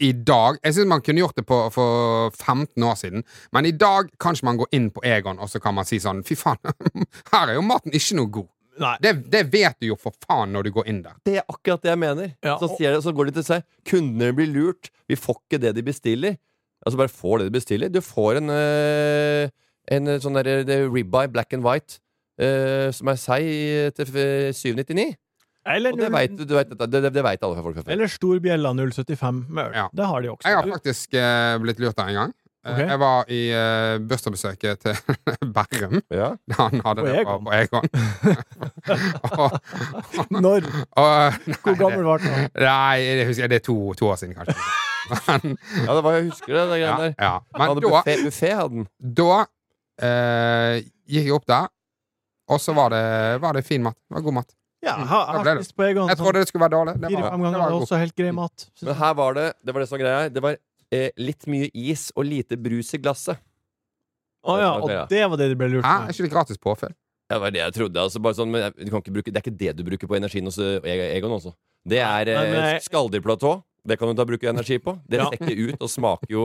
Speaker 3: i dag Jeg syns man kunne gjort det på, for 15 år siden, men i dag kan ikke man gå inn på Egon og så kan man si sånn Fy faen, [LAUGHS] her er jo maten ikke noe god.
Speaker 1: Nei.
Speaker 3: Det, det vet du jo for faen når du går inn der.
Speaker 2: Det er akkurat det jeg mener.
Speaker 1: Ja,
Speaker 2: så,
Speaker 1: og-
Speaker 2: sier jeg, så går de til seg. Kundene blir lurt. Vi får ikke det de bestiller. Altså bare får det de bestiller. Du får en, eh, en eh, sånn derre det er ribeye black and white. eh, som er seig eh, til eh, 799.
Speaker 1: Eller,
Speaker 2: Og det
Speaker 1: null-
Speaker 2: vet, du vet, dette- det, det, det vet alle folk fra før.
Speaker 1: eller Storbjella 075 med øl.
Speaker 3: Ja.
Speaker 1: Det har de også.
Speaker 3: Jeg har faktisk eh, blitt lurt der en gang. Eh,
Speaker 1: Ok.
Speaker 3: Jeg var i eh, bursdagsbesøket til [LAUGHS] Berrum.
Speaker 2: Ja.
Speaker 3: da Han hadde
Speaker 1: På
Speaker 3: det på,
Speaker 1: Egon?
Speaker 3: på
Speaker 1: [LAUGHS]
Speaker 3: Egon. og,
Speaker 1: [LAUGHS] Når?
Speaker 3: og,
Speaker 1: Hvor
Speaker 3: nei,
Speaker 1: gammel
Speaker 3: det-
Speaker 1: var
Speaker 3: [LAUGHS]
Speaker 1: den?
Speaker 3: Nei, det husker jeg. Det er to, to år siden, kanskje. Men,
Speaker 2: ja, det var jeg husker det. det
Speaker 3: ja,
Speaker 2: greiene der.
Speaker 3: ja.
Speaker 2: Han
Speaker 3: Men
Speaker 2: hadde
Speaker 3: da,
Speaker 2: buffé, buffé hadde den.
Speaker 3: da eh, gikk jeg opp der, og så var det, var det fin mat. Det var god mat.
Speaker 1: Ja, jeg har- jeg
Speaker 3: Da ble
Speaker 1: har
Speaker 3: det.
Speaker 1: spist på Egon
Speaker 3: Jeg trodde det skulle være dårlig. Det var,
Speaker 1: fire-fem ganger.
Speaker 3: det var
Speaker 1: Det er
Speaker 3: god.
Speaker 1: også helt grei
Speaker 3: [LAUGHS]
Speaker 1: mat.
Speaker 2: Men her var det Det var det som var greia her. Det var eh, litt mye is og lite brus i glasset.
Speaker 1: Å ja,
Speaker 2: Ok, ja.
Speaker 1: og det var det de ble lurt
Speaker 3: Hæ? Er
Speaker 1: med.
Speaker 3: ikke det gratis påfyll?
Speaker 2: Ja, Det var det jeg trodde. Altså, bare sånn, men jeg- du kan ikke bruke, det er ikke det du bruker på energien hos eh, Egon også. Det er
Speaker 1: Nei, men
Speaker 2: eh,
Speaker 1: jeg-
Speaker 2: skalldyrplatå. Det kan du da bruke energi på. Det
Speaker 1: Ja.
Speaker 2: stikker ut og smaker jo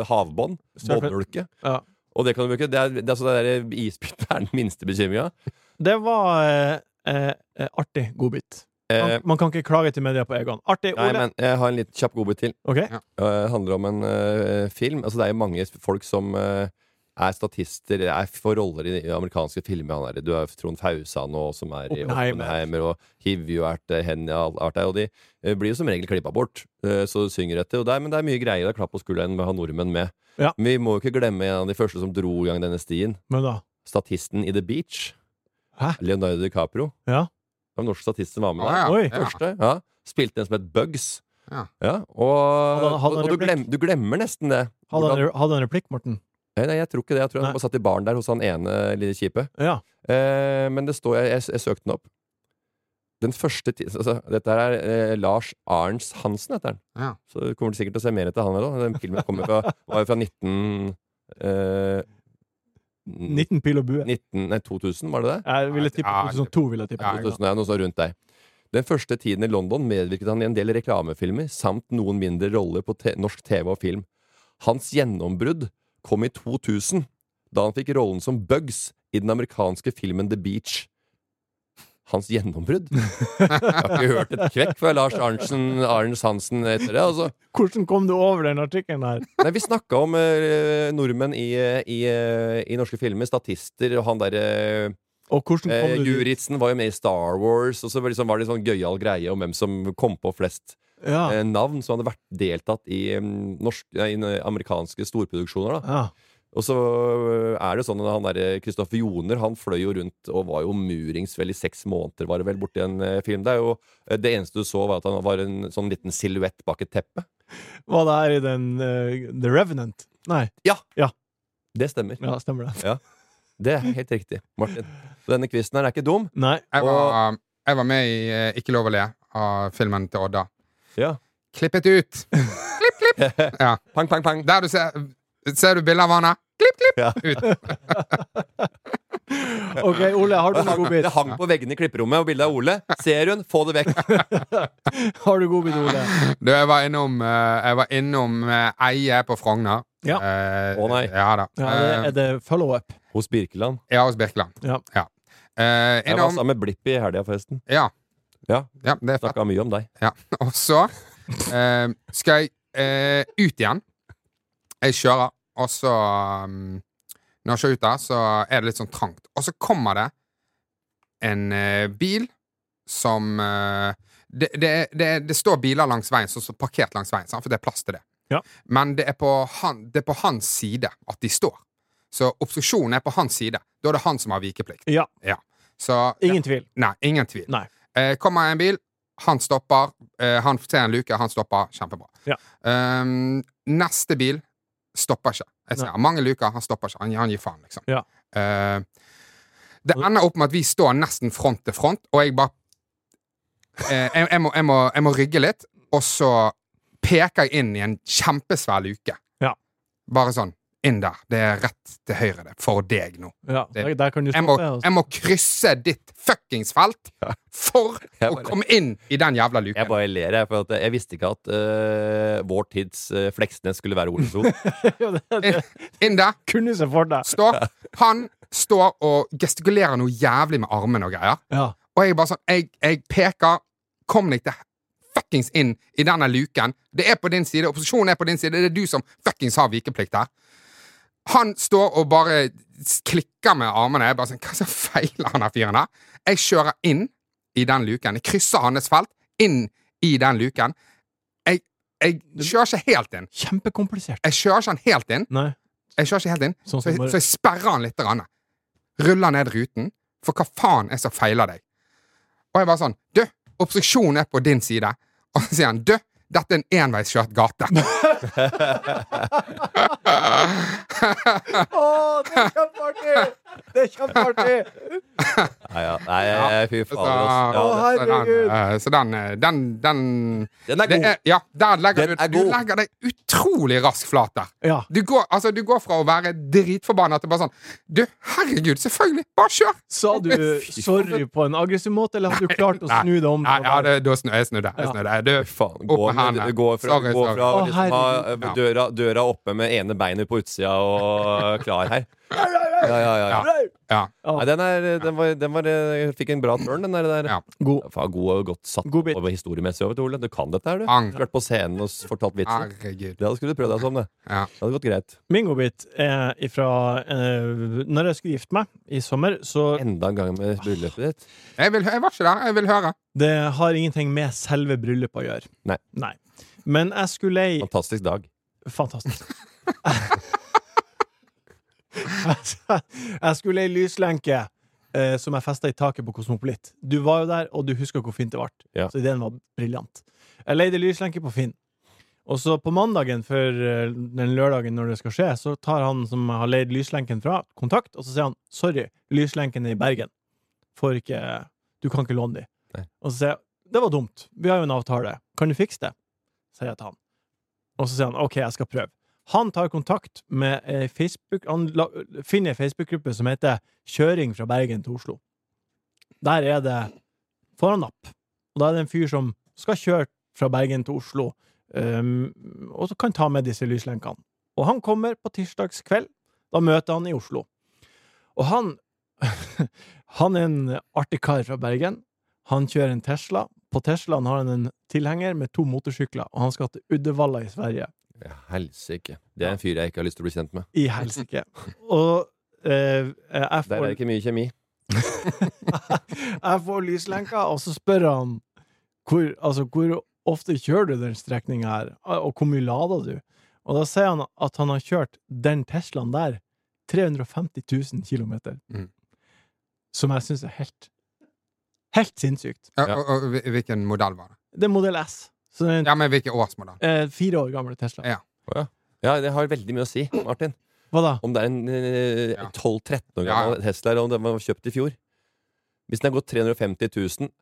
Speaker 2: eh, havbånd.
Speaker 1: Surfer-
Speaker 2: Båndulke.
Speaker 1: Ja.
Speaker 2: Og det kan du bruke. Det er, det er altså det der isbiten er den minste bekymringa.
Speaker 1: Det var eh, eh, eh, artig godbit.
Speaker 2: Eh,
Speaker 1: Man, man kan ikke klage til media på Egon. Artig,
Speaker 2: nei,
Speaker 1: Ole.
Speaker 2: men jeg har en litt kjapp godbit til.
Speaker 1: Ok?
Speaker 2: Det handler om en eh, film. Altså, det er jo mange folk som eh, er statister, er for roller i, i amerikanske filmer. Han er, i- du har Trond Fausan og som er i
Speaker 1: Oppenheimer.
Speaker 2: Oppenheimer, og Hivju Erte, Henny Arte, og de eh, blir jo som regel klippa bort. Eh, så du synger etter. Og det er, men det er mye greier. Det er klapp på skulderen med å ha nordmenn med.
Speaker 1: Ja.
Speaker 2: Men vi må jo ikke glemme en av de første som dro i gang denne stien.
Speaker 1: Men da
Speaker 2: Statisten i The Beach.
Speaker 1: Hæ?
Speaker 2: Leonardo DiCaprio.
Speaker 1: Ja.
Speaker 2: Det var norsk statist som var med
Speaker 3: Å,
Speaker 2: der.
Speaker 3: ja.
Speaker 1: Oi.
Speaker 3: Ja.
Speaker 2: Første, ja. Spilte en som het Bugs.
Speaker 3: Ja.
Speaker 2: og
Speaker 1: Hadde han- hadde han
Speaker 2: og, og du,
Speaker 1: replikk?
Speaker 2: glem, du glemmer nesten det.
Speaker 1: Hadde
Speaker 2: Hvordan-
Speaker 1: han, hadde han replikk, Morten?
Speaker 2: Nei, nei, jeg tror ikke det. Jeg tror
Speaker 1: Nei.
Speaker 2: han bare satt i baren der hos han ene lille kjipe.
Speaker 1: Ja.
Speaker 2: Eh, men det står jeg, jeg, jeg søkte den opp. Den første ti- altså, Dette her er eh, Lars Arns Hansen, heter han.
Speaker 3: Ja.
Speaker 2: Så du kommer sikkert til å se mer etter han her òg. Den filmen kommer fra, var jo fra 19... Eh,
Speaker 1: 19 pil og bue.
Speaker 2: 19 nei, 2000, var det det?
Speaker 1: Jeg ville tippe
Speaker 3: Ja,
Speaker 1: 2002. Ville jeg tippe.
Speaker 3: Ja,
Speaker 2: 2000, ja, noe sånt rundt deg. Den første tiden i London medvirket han i en del reklamefilmer samt noen mindre roller på te norsk TV og film. Hans gjennombrudd kom i 2000, da han fikk rollen som Bugs i den amerikanske filmen The Beach. Hans gjennombrudd? Jeg har ikke hørt et kvekk fra Lars Arntzen, Arns Hansen etter det. altså.
Speaker 1: Hvordan kom du over den artikkelen her?
Speaker 2: Nei, Vi snakka om eh, nordmenn i, eh, i, eh, i norske filmer, statister, og han derre
Speaker 1: Og hvordan kom
Speaker 2: Eh,
Speaker 1: du dit?
Speaker 2: Juritzen var jo med i Star Wars, og så var det liksom, var det en sånn gøyal greie om hvem som kom på flest
Speaker 1: Ja.
Speaker 2: eh, navn som hadde vært deltatt i, mm, norsk, nei, i eh, amerikanske storproduksjoner. Da.
Speaker 1: ja.
Speaker 2: Og så eh, er det jo sånn at han derre Kristoffer Joner Han fløy jo rundt og var jo murings vel i seks måneder, var det vel, borti en eh, film. Det, er jo, eh, det eneste du så, var at han var en sånn liten silhuett bak et teppe.
Speaker 1: Var det her i den eh, The Revenant? Nei.
Speaker 2: Det stemmer.
Speaker 1: Ja, stemmer det.
Speaker 2: Det er helt riktig, Martin. Så denne quizen her er ikke dum.
Speaker 1: Nei.
Speaker 3: Jeg var,
Speaker 2: Og-
Speaker 3: jeg var med i eh, Ikke lov å le av filmen til Odda.
Speaker 2: Ja.
Speaker 3: Klippet ut! Ja.
Speaker 2: Pang, pang, pang.
Speaker 3: Der du ser Ser du bildet av han her? Klipp, klipp!
Speaker 2: Ja.
Speaker 3: Ut.
Speaker 1: OK, Ole, har du
Speaker 2: Det
Speaker 1: en
Speaker 2: hang,
Speaker 1: godbit?
Speaker 2: det hang på veggene i klipperommet, og bildet av Ole. Ser hun, få det vekk.
Speaker 1: Har du godbit, Ole?
Speaker 3: Du, jeg var innom, eh, jeg var innom eh, Eie på Frogner.
Speaker 1: Ja.
Speaker 3: Eh,
Speaker 2: Å, nei.
Speaker 3: Ja da.
Speaker 1: Ja, det,
Speaker 3: Eh,
Speaker 1: er det follow-up?
Speaker 2: Hos Birkeland.
Speaker 3: ja, hos Birkeland.
Speaker 1: Ja.
Speaker 3: Eh,
Speaker 2: Jeg var
Speaker 3: innom
Speaker 2: sammen med Blipp i helga, forresten.
Speaker 3: ja.
Speaker 2: Ja.
Speaker 3: ja, det er fett.
Speaker 2: Snakka mye om deg.
Speaker 3: Ja. Og så eh, skal jeg eh, ut igjen. Jeg kjører, og så mm, Når jeg kjører ut der, så er det litt sånn trangt. Og så kommer det en eh, bil som eh, det, det, det, det står biler langs veien, som står parkert langs veien, sant? for det er plass til det.
Speaker 1: Ja.
Speaker 3: Men det er, på han, det er på hans side at de står. Så obstruksjonen er på hans side. Da er det han som har vikeplikt.
Speaker 1: Ja.
Speaker 3: Så
Speaker 1: Ingen tvil.
Speaker 3: Nei, ingen tvil.
Speaker 1: Nei.
Speaker 3: Eh, kommer en bil, han stopper. Eh, han ser en luke, han stopper. Kjempebra.
Speaker 1: Ja.
Speaker 3: Ehm, neste bil stopper ikke. Jeg ser mange luker, han stopper ikke. Han, han gir faen, liksom.
Speaker 1: Ja.
Speaker 3: Eh, det ender opp med at vi står nesten front til front, og jeg bare eh, jeg, jeg, må, jeg, må, jeg må rygge litt, og så peker jeg inn i en kjempesvær luke.
Speaker 1: Ja.
Speaker 3: Bare sånn. Inn der. Det er rett til høyre det, for deg nå.
Speaker 1: Ja, der, der kan du altså.
Speaker 3: Jeg må,
Speaker 1: stoppe. og-
Speaker 3: jeg må krysse ditt fuckings felt for
Speaker 2: Jeg
Speaker 3: å
Speaker 2: bare-
Speaker 3: komme inn i den jævla
Speaker 2: Jeg
Speaker 3: luken.
Speaker 2: bare ler, jeg. For at jeg visste ikke at eh, vår tids eh, Fleksnes skulle være Ole Sol.
Speaker 1: Ja, [LAUGHS] det, det
Speaker 3: Inn, inn der.
Speaker 1: kunne se for deg.
Speaker 3: Står. Han står og gestikulerer noe jævlig med armen og greier.
Speaker 1: Ja.
Speaker 3: Og jeg bare sånn Jeg, jeg peker. Kom deg til fuckings inn i denne luken. Det er på din side. Opposisjonen er på din side. Det er du som fuckings har vikeplikt her. Han står og bare s- klikker med armene. Jeg bare sånn Hva som feiler han her fyren her? Jeg kjører inn i den luken. Jeg krysser hans felt inn i den luken. Jeg, jeg kjører ikke helt inn.
Speaker 1: Kjempekomplisert.
Speaker 3: Jeg kjører ikke han helt inn.
Speaker 1: Nei.
Speaker 3: Jeg kjører ikke helt inn.
Speaker 1: Sånn
Speaker 3: Så
Speaker 1: som
Speaker 3: jeg,
Speaker 1: bare-
Speaker 3: så jeg sperrer han litt. Grann. Ruller ned ruten. For hva faen er som feiler deg? Og jeg bare sånn Du, obstruksjonen er på din side. Og så sier han Du, dette er en enveiskjørt gate.
Speaker 1: [LAUGHS] Å, det er kjempeartig! Det er kjempeartig!
Speaker 2: Nei, ja. Nei jeg- fy
Speaker 3: Så,
Speaker 2: fader, ass. Ja, det-
Speaker 3: så den,
Speaker 1: herregud.
Speaker 3: eh, så den, eh, den, den,
Speaker 2: Den er
Speaker 3: det
Speaker 2: god.
Speaker 3: er, Ja, der legger
Speaker 2: Den
Speaker 3: du
Speaker 2: er
Speaker 3: Du
Speaker 2: god.
Speaker 3: legger deg utrolig raskt flat der.
Speaker 1: Ja.
Speaker 3: Du går, altså, du går fra å være dritforbanna til bare sånn Du, herregud, selvfølgelig! Bare kjør!
Speaker 1: Sa
Speaker 3: [LAUGHS]
Speaker 1: du sorry på en aggressiv måte, eller hadde du klart å
Speaker 3: Nei.
Speaker 1: snu det om?
Speaker 3: Nei,
Speaker 1: til å
Speaker 3: ja,
Speaker 1: være-
Speaker 3: det, da snudde jeg. Snudde. jeg
Speaker 1: Ja.
Speaker 3: snudde. Du,
Speaker 2: Fy Faen,
Speaker 3: Opp
Speaker 2: gå,
Speaker 3: med
Speaker 2: med,
Speaker 3: hendene.
Speaker 2: gå fra, gå
Speaker 3: Sorry, sorry.
Speaker 2: fra
Speaker 1: Å,
Speaker 2: liksom, ha
Speaker 1: herregud.
Speaker 2: eh, døra, døra oppe med ene beinet på utsida og klar her. Ja, ja, ja, ja.
Speaker 1: Nei.
Speaker 3: ja,
Speaker 2: Nei, den, er, den, var, den var, eh, fikk en bra turn, den der. der.
Speaker 3: ja.
Speaker 1: God.
Speaker 2: Faen, god og godt satt
Speaker 1: God bit.
Speaker 2: over historiemessig over til Ole. Du kan dette her, du.
Speaker 3: Ang.
Speaker 2: Vært på scenen og s- fortalt vitser.
Speaker 3: Herregud.
Speaker 2: Det hadde skulle du prøvd deg som, det.
Speaker 3: Ja.
Speaker 2: Det hadde gått greit.
Speaker 1: Min godbit er ifra eh, Når jeg skulle gifte meg i sommer, så
Speaker 2: Enda en gang med bryllupet ditt.
Speaker 3: Jeg, vil, jeg var ikke der. Jeg vil høre.
Speaker 1: Det har ingenting med selve bryllupet å gjøre.
Speaker 2: Nei.
Speaker 1: Men jeg skulle ei
Speaker 2: Fantastisk dag.
Speaker 1: Fantastisk.
Speaker 2: [LAUGHS]
Speaker 1: Altså, jeg skulle ei lyslenke eh, som jeg festa i taket på Kosmopolit. Du var jo der, og du husker hvor fint det ble.
Speaker 2: Ja.
Speaker 1: Så ideen var briljant. Jeg leide lyslenke på Finn. Og så på mandagen før eh, den lørdagen når det skal skje, så tar han som jeg har leid lyslenken fra, kontakt, og så sier han sorry, lyslenken er i Bergen. Får ikke Du kan ikke låne de.
Speaker 2: Nei.
Speaker 1: Og så sier jeg det var dumt, vi har jo en avtale, kan du fikse det? Sier jeg til han. Og så sier han OK, jeg skal prøve. Han tar kontakt med ei Facebook Han la- finner ei Facebook-gruppe som heter Kjøring fra Bergen til Oslo. Der er det Får han napp. Og da er det en fyr som skal kjøre fra Bergen til Oslo, um, og så kan ta med disse lyslenkene. Og han kommer på tirsdagskveld. Da møter han i Oslo. Og han [LAUGHS] Han er en artig kar fra Bergen. Han kjører en Tesla. På Teslaen har han en tilhenger med to motorsykler, og han skal til Uddevalla i Sverige.
Speaker 2: Ja, Helsike. Det er en fyr jeg ikke har lyst til å bli kjent med.
Speaker 1: I
Speaker 2: [LAUGHS]
Speaker 1: helsike. Og eh, jeg,
Speaker 2: Der er
Speaker 1: får,
Speaker 2: det ikke mye kjemi.
Speaker 1: jeg får lyslenka, og så spør han hvor, altså, hvor ofte kjører du den strekninga her, og hvor mye lader du? Og da sier han at han har kjørt den Teslaen der 350 000 km.
Speaker 3: Mm.
Speaker 1: Som jeg syns er helt Helt sinnssykt.
Speaker 3: Ja,
Speaker 2: Ja.
Speaker 3: Og, og hvil- hvilken modell var det?
Speaker 1: Det er modell S. Så det er en
Speaker 3: Ja, men hvilken årsmodell?
Speaker 1: eh, fire år gamle Tesla.
Speaker 3: Ja.
Speaker 2: Ja, Det har veldig mye å si, Martin.
Speaker 1: Hva da?
Speaker 2: Om det er en eh,
Speaker 3: Ja.
Speaker 2: 12-13 år
Speaker 3: Ja, ja.
Speaker 2: gammel Tesla, eller om den var kjøpt i fjor. Hvis den har gått 350 000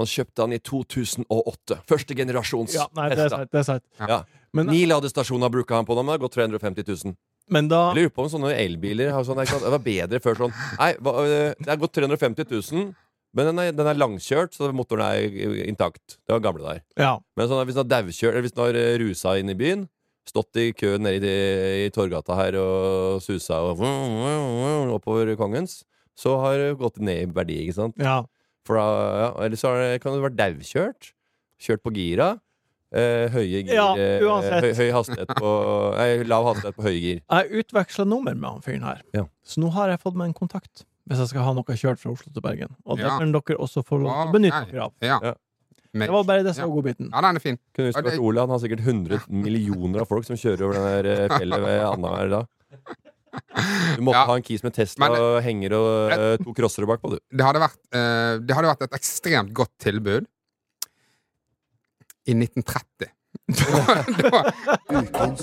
Speaker 2: Han kjøpte den i 2008. Første generasjons
Speaker 1: Ja, nei, det er
Speaker 2: Tesla.
Speaker 1: sant. Det er sant.
Speaker 3: Ja.
Speaker 2: Ja.
Speaker 1: Men,
Speaker 2: Ni ladestasjoner bruker han på dem, det har gått 350 000.
Speaker 1: men da
Speaker 2: Jeg lurer på om sånne elbiler har sånn, ikke sant, Det var bedre før sånn Nei, hva, øh, det har gått 350 000, men den er, den er langkjørt, så motoren er intakt. Det var gamle der.
Speaker 1: Ja.
Speaker 2: Men sånn, at hvis den har daukjørt, eller hvis den har øh, rusa inn i byen, stått i kø nede i, i Torgata her og susa og vroom, vroom, vroom oppover Kongens, så har det gått ned i verdi, ikke sant?
Speaker 1: ja.
Speaker 2: For da, ja, eller så har det- kan det være daukjørt. Kjørt på gira. Eh, høye gir
Speaker 1: Ja,
Speaker 2: eh,
Speaker 1: uansett.
Speaker 2: høy, høy hastighet på Nei, lav hastighet på høye gir.
Speaker 1: Jeg utveksla nummer med han fyren her,
Speaker 2: Ja.
Speaker 1: så nå har jeg fått meg en kontakt. Hvis jeg skal ha noe kjørt fra Oslo til Bergen. Og det
Speaker 3: Ja.
Speaker 1: kan dere også få lov til
Speaker 3: Å,
Speaker 1: å benytte
Speaker 3: nei.
Speaker 1: dere av.
Speaker 3: Ja.
Speaker 2: Ja.
Speaker 3: Men,
Speaker 1: Det var bare det som
Speaker 3: Ja.
Speaker 1: var godbiten.
Speaker 3: ja, den er fin.
Speaker 2: Kunne huske
Speaker 3: Ja, det-
Speaker 2: at Olav har sikkert
Speaker 3: [LAUGHS]
Speaker 2: 100 millioner av folk som kjører over den der eh, fjellet ved annenhver dag. Du måtte
Speaker 3: Ja.
Speaker 2: ha en kis med Tesla
Speaker 3: Men-
Speaker 2: og henger og eh, to crossere bakpå, du.
Speaker 3: Det hadde vært, eh, det hadde vært et ekstremt godt tilbud i 1930. [LAUGHS] da, da,
Speaker 5: Ukens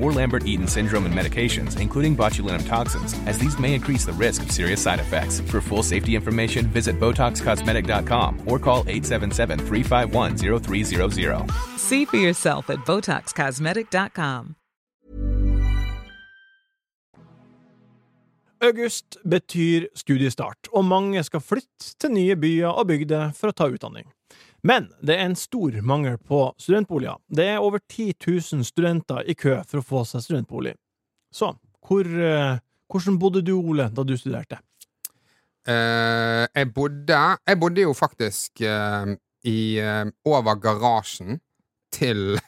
Speaker 6: or Lambert-Eaton syndrome and medications, including botulinum toxins, as these may increase the risk of serious side effects. For full safety information, visit BotoxCosmetic.com or call 877-351-0300.
Speaker 7: See for yourself at BotoxCosmetic.com.
Speaker 1: August betyr studiestart, og mange skal flytte til nye byer og bygder for å ta utdanning. Men det er en stor mangel på studentboliger. Det er over 10 000 studenter i kø for å få seg studentbolig. Så, hvor, eh, hvordan bodde du, Ole, da du studerte?
Speaker 3: Eh, jeg, bodde, jeg bodde jo faktisk eh, i, eh, over garasjen til [LAUGHS]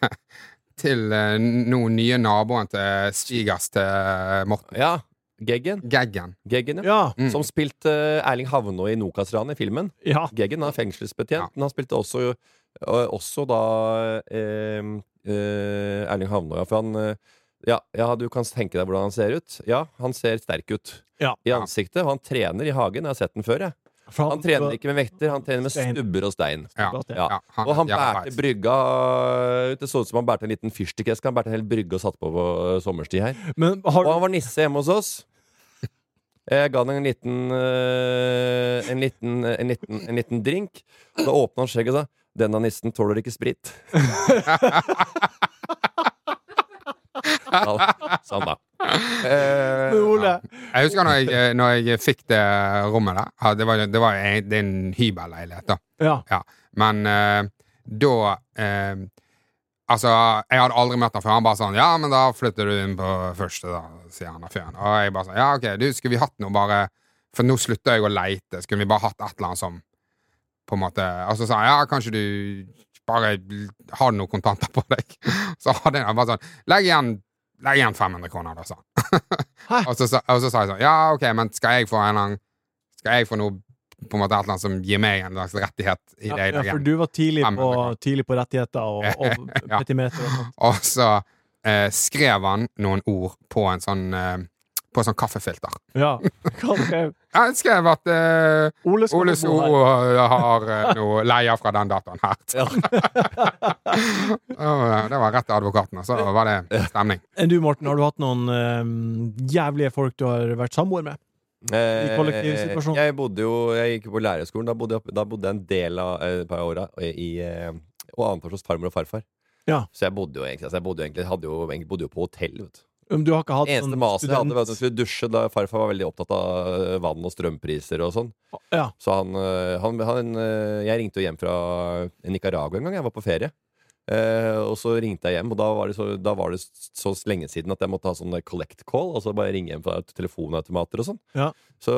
Speaker 3: til eh, nå nye naboen til svigers til Morten.
Speaker 2: Ja. Geggen.
Speaker 3: Geggen. Mm.
Speaker 2: Geggen, ja.
Speaker 1: Ja.
Speaker 2: Som spilte eh, Erling Havnå i Nokas-ranet i filmen.
Speaker 1: ja.
Speaker 2: Geggen er fengselsbetjent,
Speaker 3: Ja.
Speaker 2: men han spilte også, eh, også da eh, eh, Erling Havnå, ja. For han eh, ja, ja, du kan tenke deg hvordan han ser ut. Ja, han ser sterk ut
Speaker 1: Ja.
Speaker 2: i ansiktet. Og han trener i hagen. Jeg har sett den før, jeg.
Speaker 1: For
Speaker 2: Han trener ikke med vekter, han trener med
Speaker 1: Stein.
Speaker 2: stubber og stein.
Speaker 3: Ja.
Speaker 2: Ja.
Speaker 3: Ja, han-
Speaker 2: og han
Speaker 3: ja,
Speaker 2: bærte
Speaker 3: nice.
Speaker 2: brygga ut. Det så ut som han bærte en liten fyrstikkeske. Han bærte en hel brygge og satt på på eh, sommerstid her.
Speaker 1: Men har
Speaker 2: Og
Speaker 1: du
Speaker 2: han var nisse hjemme hos oss. Jeg ga han en liten, eh, en liten, en liten, en liten drink. Da åpna han skjegget og sa 'Denne nissen tåler ikke sprit'. Ja, sånn, da. Eh,
Speaker 1: Men Ole,
Speaker 3: Jeg husker når jeg, eh, når jeg fikk det rommet der. Ja, det, var, det, var, en- det er en hybelleilighet, da.
Speaker 1: ja.
Speaker 3: Ja. Men eh, da eh, Altså, jeg hadde aldri møtt han før. Han bare sånn 'Ja, men da flytter du inn på første', da, sier han av fyren. Og jeg bare sånn 'Ja, ok, du, skulle vi hatt noe bare For nå slutter jeg å leite. Skulle vi bare hatt et eller annet som På en måte Og så sa han 'Ja, kanskje du bare har noen kontanter på deg'. [LAUGHS] Så hadde jeg- han bare sånn 'Legg igjen, legg igjen 500 kroner', da, sa
Speaker 1: Hæ?
Speaker 3: han. [LAUGHS] og, så, sa- og så sa jeg sånn 'Ja, ok, men skal jeg få en eller annen Skal jeg få noe på en måte et eller annet som gir meg en slags rettighet i
Speaker 1: Ja,
Speaker 3: det jeg
Speaker 1: ja,
Speaker 3: legger
Speaker 1: for
Speaker 3: igjen?'
Speaker 1: du var tidlig
Speaker 3: Fem
Speaker 1: på,
Speaker 3: minutter.
Speaker 1: tidlig på rettigheter og, og
Speaker 3: [LAUGHS] Ja.
Speaker 1: petimeter. og sånt.
Speaker 3: Og så eh, skrev han noen ord på en sånn eh, På en sånn kaffefilter.
Speaker 1: Ja. Hva skrev
Speaker 3: Han skrev at eh,
Speaker 1: Ole skal
Speaker 3: Ole
Speaker 1: få bo her.
Speaker 3: So har eh,
Speaker 1: [LAUGHS]
Speaker 3: noe leia fra den dataen her.
Speaker 2: ja.
Speaker 3: [LAUGHS] Og, eh, det var rett til advokaten, og så var det stemning.
Speaker 1: Enn du, Morten, har du hatt noen eh, jævlige folk du har vært samboer med?
Speaker 2: Eh,
Speaker 1: kollektivsituasjon.
Speaker 2: Jeg bodde jo Jeg gikk jo på lærerskolen. Da bodde jeg, opp- da bodde jeg en del av eh, et par åra i eh, Og annet år hos farmor og farfar.
Speaker 1: Ja.
Speaker 2: Så jeg bodde jo egentlig altså jeg bodde jo egentlig, hadde jo, egentlig bodde jo på hotell. Vet du.
Speaker 1: Om Um, du har ikke hatt sånn
Speaker 2: Eneste maset jeg hadde, var at jeg skulle dusje da farfar var veldig opptatt av eh, vann og strømpriser og sånn.
Speaker 1: Ja.
Speaker 2: Så han, eh, han, han eh, Jeg ringte jo hjem fra Nicaragua en gang. Jeg var på ferie. Eh, og så ringte jeg hjem, og da var, det så, da var det så lenge siden at jeg måtte ha sånn collect call. Altså bare ringe hjem fra telefonautomater og sånn.
Speaker 1: Ja.
Speaker 2: Så,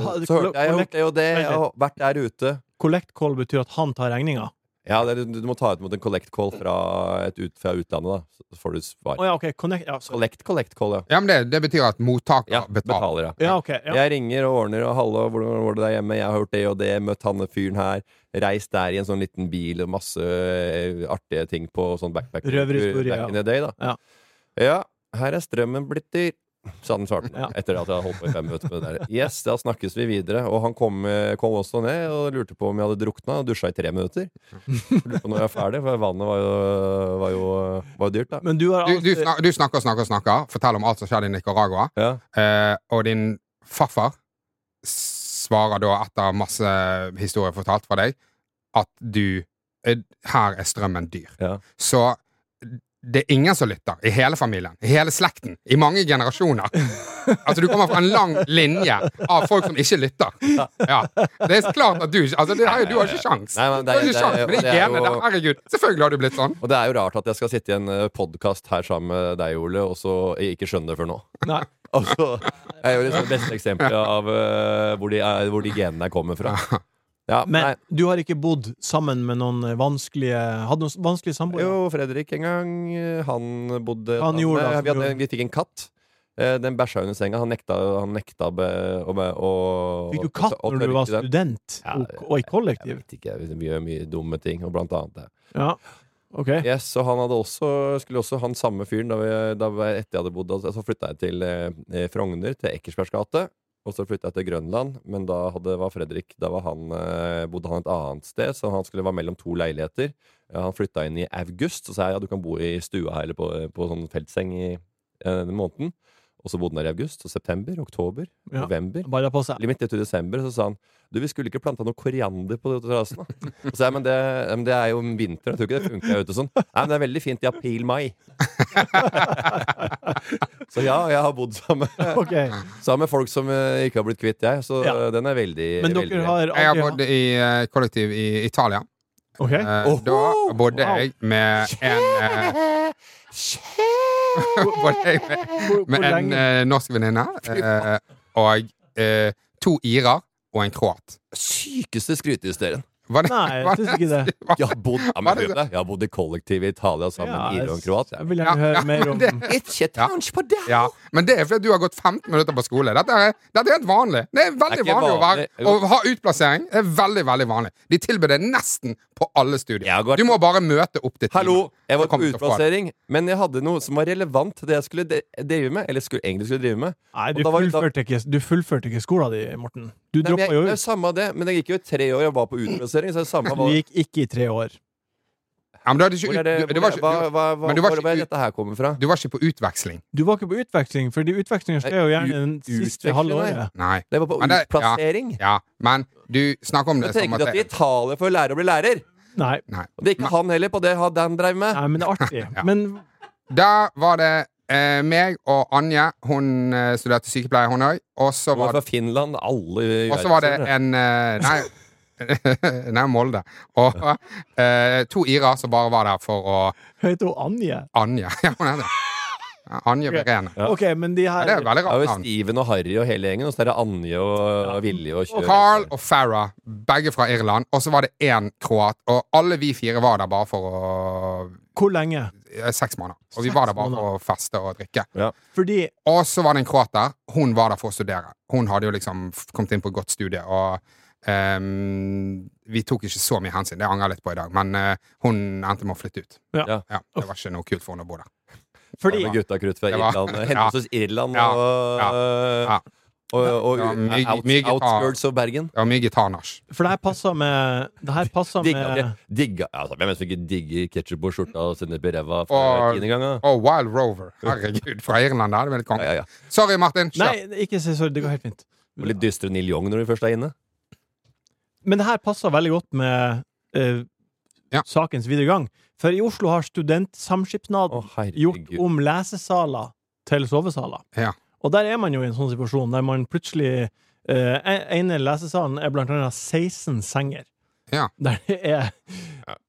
Speaker 1: Ha, det-
Speaker 2: så hørte jeg
Speaker 1: collect-
Speaker 2: hørte jo det.
Speaker 1: Vent
Speaker 2: Jeg har vært der ute.
Speaker 1: Collect call betyr at han tar regninga.
Speaker 2: Ja, det, er- du, du må ta ut mot en collect call fra, et ut, fra utlandet, da. Så får du
Speaker 1: Å
Speaker 2: svar.
Speaker 1: ja, OK. Connect, ja, sorry.
Speaker 2: Collect, collect call, ja.
Speaker 3: Ja, men det, det betyr at mottaker
Speaker 2: ja
Speaker 3: betaler.
Speaker 2: betaler, ja.
Speaker 1: ja, ok, ja.
Speaker 2: Jeg ringer og ordner og 'hallo, hvordan var det der hjemme?' 'Jeg har hørt det og det, møtt han og fyren her'. Reist der i en sånn liten bil og masse eh, artige ting på sånn backpack.
Speaker 1: Røverhistorie,
Speaker 2: back
Speaker 1: ja.
Speaker 2: in the day, da.
Speaker 1: Ja.
Speaker 2: Ja, her er strømmen blitt dyr. Sa han svarte meg,
Speaker 1: Ja.
Speaker 2: etter at jeg hadde holdt på i fem minutter med det der. Yes, da snakkes vi videre. Og han kom, eh, kom også ned og lurte på om jeg hadde drukna, og dusja i tre minutter. Lurte på når jeg var ferdig, for vannet var jo, var jo, var jo dyrt, da.
Speaker 1: Men du har
Speaker 3: Du, du,
Speaker 1: alltid-
Speaker 3: snak, du snakker og snakker og snakker. Forteller om alt som skjedde i Nicaragua.
Speaker 2: Ja.
Speaker 3: Eh, og din farfar svarer da, etter masse historier fortalt fra deg, at du eh, Her er strømmen dyr.
Speaker 2: Ja.
Speaker 3: Så det er ingen som lytter i hele familien, i hele slekten, i mange generasjoner. Altså Du kommer fra en lang linje av folk som ikke lytter. Ja. Det er klart at du ikke altså, det, er jo- Du har ikke sjans.
Speaker 2: Nei, men
Speaker 3: Du
Speaker 2: det er-
Speaker 3: har ikke sjans
Speaker 2: det er-
Speaker 3: med de
Speaker 2: det er
Speaker 3: genene
Speaker 2: jo-
Speaker 3: der. Herregud, selvfølgelig har du blitt sånn.
Speaker 2: Og det er jo rart at jeg skal sitte i en podkast her sammen med deg, Ole, og så jeg ikke skjønne det før nå.
Speaker 1: Nei.
Speaker 2: Altså, jeg er jo liksom det beste eksempelet av eh, hvor, de er, hvor de genene kommer fra. Ja,
Speaker 1: Men
Speaker 2: nei.
Speaker 1: du har ikke bodd sammen med noen vanskelige Hadde noen s- vanskelige samboere?
Speaker 2: Jo, Fredrik en gang, eh, han bodde
Speaker 1: Han gjorde det,
Speaker 2: Nei,
Speaker 1: han
Speaker 2: vi, hadde,
Speaker 1: gjorde-
Speaker 2: vi fikk en katt. Eh, Den bæsja under senga. Han nekta, han nekta be, å, be, å
Speaker 1: Fikk du katt
Speaker 2: å- å
Speaker 1: når du var
Speaker 2: tørke den.
Speaker 1: student
Speaker 2: Ja,
Speaker 1: og, og i
Speaker 2: Jeg
Speaker 1: kollektiv?
Speaker 2: vet ikke, vi gjør mye dumme ting, og blant annet det.
Speaker 1: Ja. OK.
Speaker 2: Yes, og han hadde også, skulle også han samme fyren da, vi, da vi- etter jeg hadde bodd altså, Så flytta jeg til eh, eh, Frogner, til Ekersbergs gate. Og så flytta jeg til Grønland, men da hadde, var Fredrik Da var han, eh, bodde han et annet sted, så han skulle være mellom to leiligheter. Ja, han flytta inn i august, så sa jeg ja, du kan bo i stua her eller på, på sånn feltseng i eh, den måneden. Og så bodde han der i august, og september, oktober,
Speaker 1: Ja.
Speaker 2: november.
Speaker 1: Balla på seg.
Speaker 2: Eller midt etter desember så sa han Du, vi skulle ikke planta noe koriander på terrassen. da." Og Så sa jeg, men det, men det er jo vinter, jeg tror ikke det funker her ute sånn. Nei, men det er veldig fint i
Speaker 1: [LAUGHS]
Speaker 2: april-mai. så ja, jeg har bodd sammen,
Speaker 1: OK.
Speaker 2: sammen med folk som eh, ikke har blitt kvitt, jeg. Så
Speaker 1: Ja.
Speaker 2: eh, den er veldig
Speaker 1: Men
Speaker 2: veldig
Speaker 1: dere
Speaker 2: grei.
Speaker 1: har
Speaker 3: Jeg har
Speaker 1: aldri
Speaker 3: bodd i eh, kollektiv i Italia.
Speaker 1: OK?
Speaker 3: Eh, da
Speaker 2: Oho!
Speaker 3: bodde
Speaker 1: Wow.
Speaker 3: jeg med en eh, Bodde jeg med,
Speaker 1: Hvor, hvor
Speaker 3: med en
Speaker 1: lenge
Speaker 3: eh, norsk venninne eh, og eh, to irer og en kroat.
Speaker 2: Sykeste skrytehysterien.
Speaker 3: Var det,
Speaker 1: Nei, jeg
Speaker 3: var
Speaker 1: syns ikke det.
Speaker 3: var
Speaker 2: Jeg har bodd, [LAUGHS] ja,
Speaker 3: Var
Speaker 2: men,
Speaker 3: det
Speaker 2: hør på det. jeg har bodd i kollektiv i Italia sammen
Speaker 1: Ja,
Speaker 2: med Ire og en kroat.
Speaker 1: Jeg vil gjerne høre mer om
Speaker 3: men det,
Speaker 2: Ikke touch på det!
Speaker 3: ja, men det er fordi du har gått 15 minutter på skole. Dette er, dette er helt vanlig. Det er veldig
Speaker 2: Det er ikke
Speaker 3: vanlig,
Speaker 2: vanlig.
Speaker 3: Å, være, å ha utplassering. Det er veldig, veldig vanlig De tilbyr det nesten på alle studier.
Speaker 2: Jeg har gått-
Speaker 3: Du må bare møte opp til timen.
Speaker 2: Hallo, jeg var
Speaker 3: Så
Speaker 2: på
Speaker 3: kommer du til å få det.
Speaker 2: utplassering, men jeg hadde noe som var relevant til det jeg skulle de- drive med. Eller skulle, egentlig skulle drive med.
Speaker 1: Nei,
Speaker 2: Og
Speaker 1: du
Speaker 2: da var- da-
Speaker 1: fullførte, ikke, du fullførte ikke skolen din, Morten. Du
Speaker 2: Nei, men jeg,
Speaker 1: droppa jo
Speaker 2: det er
Speaker 1: ut.
Speaker 2: samme det, men jeg gikk jo i tre år og var på utplassering, så det er samme
Speaker 1: Du
Speaker 2: hva
Speaker 1: gikk ikke i tre år.
Speaker 3: Ja, men du hadde ikke,
Speaker 2: Hvor
Speaker 3: ut,
Speaker 2: er det,
Speaker 3: du, det
Speaker 2: hvor,
Speaker 3: var
Speaker 2: hva,
Speaker 3: ikke,
Speaker 2: hva, hva,
Speaker 3: men du var
Speaker 2: hvor
Speaker 3: ikke
Speaker 2: er
Speaker 3: ut-
Speaker 2: dette her kommer fra?
Speaker 3: du, du var ikke på utveksling.
Speaker 1: Du var ikke på utveksling, for utvekslinger skjer jo gjerne den
Speaker 2: Nei, u-
Speaker 1: siste
Speaker 2: utveksling,
Speaker 1: halve
Speaker 2: nei.
Speaker 1: året.
Speaker 3: Nei.
Speaker 2: Det var på
Speaker 3: Men det- ja.
Speaker 2: utplassering.
Speaker 3: Ja, men du snakker om
Speaker 2: Jeg
Speaker 3: det som
Speaker 2: tenker
Speaker 3: at
Speaker 2: ikke at i
Speaker 3: det,
Speaker 2: Italia for å lære å bli lærer.
Speaker 1: Nei,
Speaker 3: Nei.
Speaker 2: Og det er ikke han heller, på det han- han drev med.
Speaker 1: nei, men
Speaker 2: [LAUGHS]
Speaker 1: det er artig.
Speaker 3: Ja.
Speaker 1: Men
Speaker 3: Da var det eh, meg og Anje. Hun eh, studerte sykepleie, hun òg. Og så
Speaker 2: Han var
Speaker 3: var,
Speaker 2: fra Finland, alle
Speaker 3: og så var det
Speaker 2: gjør
Speaker 3: en eh, Nei. [LAUGHS] Nei, Molde. Og eh, to irer som bare var der for å
Speaker 1: heter hun Anje?
Speaker 3: Anje. [LAUGHS] Ja, hun er det. Ja, Anje Verene.
Speaker 2: Ja.
Speaker 1: Ok, men de
Speaker 3: Ja, det
Speaker 1: her
Speaker 3: er et veldig
Speaker 2: Det er
Speaker 3: rart
Speaker 2: jo
Speaker 3: navn.
Speaker 2: Steven og Harry og hele gjengen, og så er det Anje og og Vilje og
Speaker 3: Og
Speaker 2: Kjør.
Speaker 3: Carl og Farah, begge fra Irland. Og så var det én kroat. Og alle vi fire var der bare for å
Speaker 1: Hvor lenge?
Speaker 3: eh, Seks måneder. Og vi
Speaker 1: Seks
Speaker 3: var der bare
Speaker 1: måneder.
Speaker 3: for å feste og drikke.
Speaker 1: Fordi
Speaker 3: Og så var det en kroat der. Hun var der for å studere. Hun hadde jo liksom f- kommet inn på et godt studie, og ehm, vi tok ikke så mye hensyn. Det angrer jeg litt på i dag, men eh, hun endte med å flytte ut.
Speaker 1: Ja.
Speaker 2: Ja.
Speaker 3: Det var ikke noe kult for henne å bo der.
Speaker 1: Fordi
Speaker 2: Alle gutta krutt fra
Speaker 3: Det var-
Speaker 2: Irland.
Speaker 3: [LAUGHS] Ja.
Speaker 2: Henholdsvis Irland
Speaker 3: Ja.
Speaker 2: og,
Speaker 3: Ja.
Speaker 2: og, og,
Speaker 3: Ja, mye-
Speaker 2: out,
Speaker 3: mye gitar.
Speaker 2: outskirts of Bergen.
Speaker 3: Det var mye gitarnasj.
Speaker 1: For det her passer med Det her passer
Speaker 2: Digga,
Speaker 1: med
Speaker 2: digga, altså, hvem er det som ikke digger ketsjup på skjorta og sennep i ræva for
Speaker 3: Og-
Speaker 2: tiende gang? da?
Speaker 3: Og Wild Rover. Herregud, fra Irland, da. Det er vel
Speaker 2: Ja,
Speaker 3: konge.
Speaker 2: ja, ja.
Speaker 3: Sorry, Martin. Kjør.
Speaker 1: Nei, ikke si sorry, det går helt fint.
Speaker 2: Og litt dystre Neil Young når du først er inne.
Speaker 1: Men det her passer veldig godt med eh,
Speaker 3: Ja.
Speaker 1: sakens videre gang. For i Oslo har
Speaker 2: Å,
Speaker 1: studentsamskipnaden gjort
Speaker 2: herregud.
Speaker 1: om lesesaler til sovesaler.
Speaker 3: Ja.
Speaker 1: Og der er man jo i en sånn situasjon der man plutselig eh, en- ene lesesalen er blant annet 16 senger.
Speaker 3: Ja.
Speaker 1: Der det er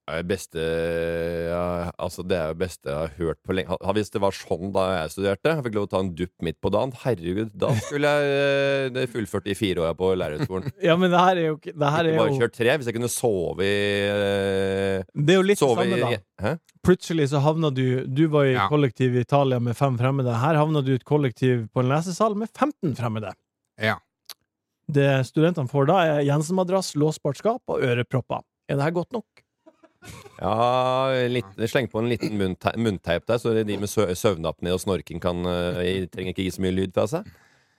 Speaker 2: Det beste ja, Altså, det er det beste jeg har hørt på lenge. Ha- Hvis det var sånn da jeg studerte, jeg fikk lov å ta en dupp midt på dagen, herregud, da skulle jeg eh, det fullført i fire år på lærerhøgskolen.
Speaker 1: Ja, men det her er jo ikke- Det her
Speaker 2: Ikke
Speaker 1: er
Speaker 2: bare
Speaker 1: jo,
Speaker 2: kjørt tre, hvis jeg kunne sove i eh,
Speaker 1: det er jo litt det
Speaker 2: Sove
Speaker 1: samme,
Speaker 2: i
Speaker 1: da.
Speaker 2: Hæ?
Speaker 1: plutselig så havna du Du var i
Speaker 3: Ja.
Speaker 1: kollektiv i Italia med fem fremmede. Her havna du i et kollektiv på en lesesal med 15 fremmede.
Speaker 3: Ja.
Speaker 1: Det studentene får da, er Jensen-madrass, låsbart skap og ørepropper. Er det her godt nok?
Speaker 2: Ja, en liten- sleng på en liten munnte- munnteip der, så de med sø- søvnapné og snorking kan eh, trenger ikke gi så mye lyd fra seg.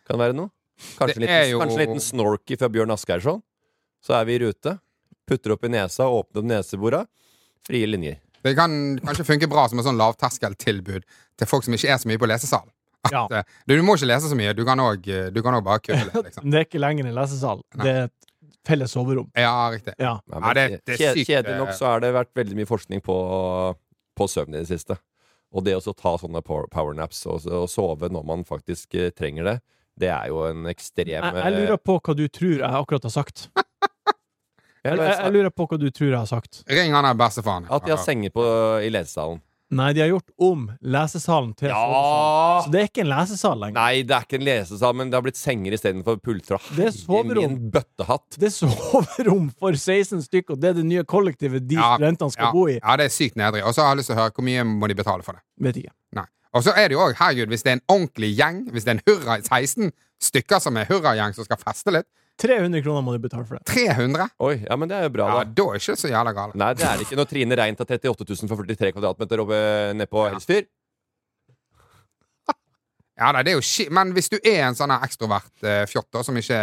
Speaker 2: Kan være noe. Kanskje en
Speaker 3: Det
Speaker 2: liten,
Speaker 3: er jo-
Speaker 2: kanskje en liten snorky fra Bjørn Asgeirsson. Så er vi i rute. Putter opp i nesa, åpner opp nesebora. Frie linjer.
Speaker 3: Det kan kanskje funke bra som et sånn lavterskeltilbud til folk som ikke er så mye på lesesal. At,
Speaker 1: Ja.
Speaker 3: eh, du du må ikke lese så mye. Du kan òg bare kutte litt, liksom.
Speaker 1: Det er ikke lenger en lesesal.
Speaker 3: Nei.
Speaker 1: Det er et felles soverom.
Speaker 3: Ja, riktig.
Speaker 1: Ja.
Speaker 2: Nei,
Speaker 3: Ja, det- det er
Speaker 2: kje-
Speaker 3: sykt,
Speaker 2: Kjedelig nok
Speaker 3: eh.
Speaker 2: så har det vært veldig mye forskning på, på søvn i det siste. Og det å så ta sånne power- powernaps og, og sove når man faktisk eh, trenger det, det er jo en ekstrem
Speaker 1: Jeg, jeg lurer på hva du tror jeg akkurat har sagt.
Speaker 2: eh,
Speaker 1: Jeg, jeg, jeg lurer på hva du tror jeg har sagt.
Speaker 3: Ring han der bestefaren.
Speaker 2: At de har senger på, i lesesalen.
Speaker 1: Nei, de har gjort om lesesalen til sovesal.
Speaker 2: Ja!
Speaker 1: Så det er ikke en lesesal lenger.
Speaker 2: Nei, det er ikke en lesesal, men det har blitt senger istedenfor pulter. og
Speaker 1: Det er soverom.
Speaker 2: Min bøttehatt.
Speaker 1: Det er soverom for 16 stykker, og det er det nye kollektivet de studentene skal
Speaker 3: ja,
Speaker 1: bo i.
Speaker 3: Ja, det er sykt nedrig. Og så har jeg lyst til å høre hvor mye må de betale for det.
Speaker 1: Vet ikke.
Speaker 3: Nei. Og så er det jo òg, herregud, hvis det er en ordentlig gjeng, hvis det er en hurra 16 stykker som er hurragjeng som skal feste litt,
Speaker 1: 300 kroner må du betale for det.
Speaker 3: 300?
Speaker 2: Oi, ja, men det er jo bra, da.
Speaker 3: Ja, da er ikke det så jævla galt.
Speaker 2: Nei, det er det ikke. Når Trine Rein tar 38 000 for 43 kvadratmeter oppe nedpå Elsfyr.
Speaker 3: Ja, nei, det er jo shit. Men hvis du er en sånn her ekstrovert eh, fjott da, som ikke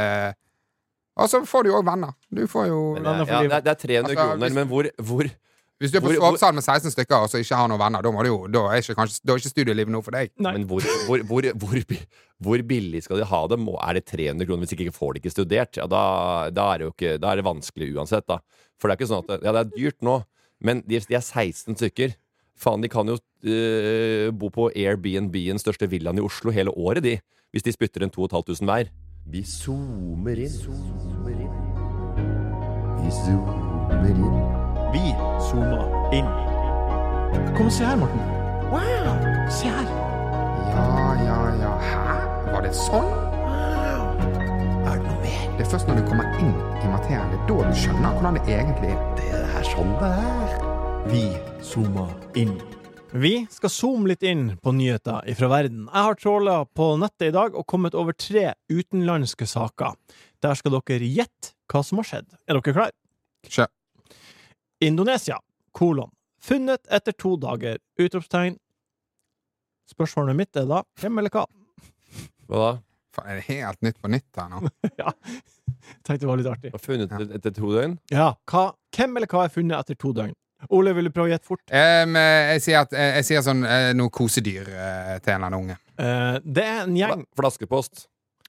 Speaker 3: Og så får du jo òg venner. Du får jo
Speaker 2: Men, eh,
Speaker 1: Landet for
Speaker 2: ja,
Speaker 1: livet.
Speaker 2: det er- det er 300 kroner,
Speaker 3: Altså, hvis-
Speaker 2: men hvor, hvor
Speaker 3: Hvis du er på
Speaker 2: Hvor- hvor-
Speaker 3: sovesal med 16 stykker og så ikke har noen venner, da, må du jo, da, er ikke, kanskje, da er ikke studielivet noe for deg.
Speaker 1: Nei.
Speaker 2: Men hvor, hvor, hvor, hvor, bi- hvor billig skal de ha det? Må- Er det 300 kroner hvis ikke får de ikke studert? Ja, da, da, er det jo ikke, da er det vanskelig uansett, da. For det er ikke sånn at det- Ja, det er dyrt nå, men de, de er 16 stykker. Faen, de kan jo øh, bo på Airbnb, den største villaen i Oslo, hele året, de. Hvis de spytter en 2500 hver. Vi zoomer inn. Vi zoomer inn.
Speaker 1: Vi zoomer inn. Kom og se her, Morten. Wow! Se her.
Speaker 3: Ja, ja, ja. Hæ? Var det sånn?
Speaker 1: Er det noe mer?
Speaker 3: Det er først når du kommer inn i materien. Det er da du skjønner hvordan det egentlig er.
Speaker 5: Det er sånn det er. Vi zoomer inn.
Speaker 1: Vi skal zoome litt inn på nyheter ifra verden. Jeg har tråla på nettet i dag og kommet over tre utenlandske saker. Der skal dere gjette hva som har skjedd. Er dere klare?
Speaker 3: Kjør.
Speaker 1: Indonesia, kolon. Funnet etter to dager, utropstegn. Spørsmålet mitt er da hvem eller hva?
Speaker 2: Hva da?
Speaker 3: Faen, er det helt nytt på nytt her nå?
Speaker 1: ja, tenkte det var litt artig.
Speaker 2: Har funnet det etter to døgn?
Speaker 1: Ja, hva, hvem eller hva er funnet etter to døgn? Ole, vil du prøve å gjette fort?
Speaker 3: Em, eh, jeg, sier at, eh, jeg sier sånn eh, noe kosedyr eh, til en eller annen unge.
Speaker 1: Eh, det er en gjeng.
Speaker 2: Fla- Flaskepost.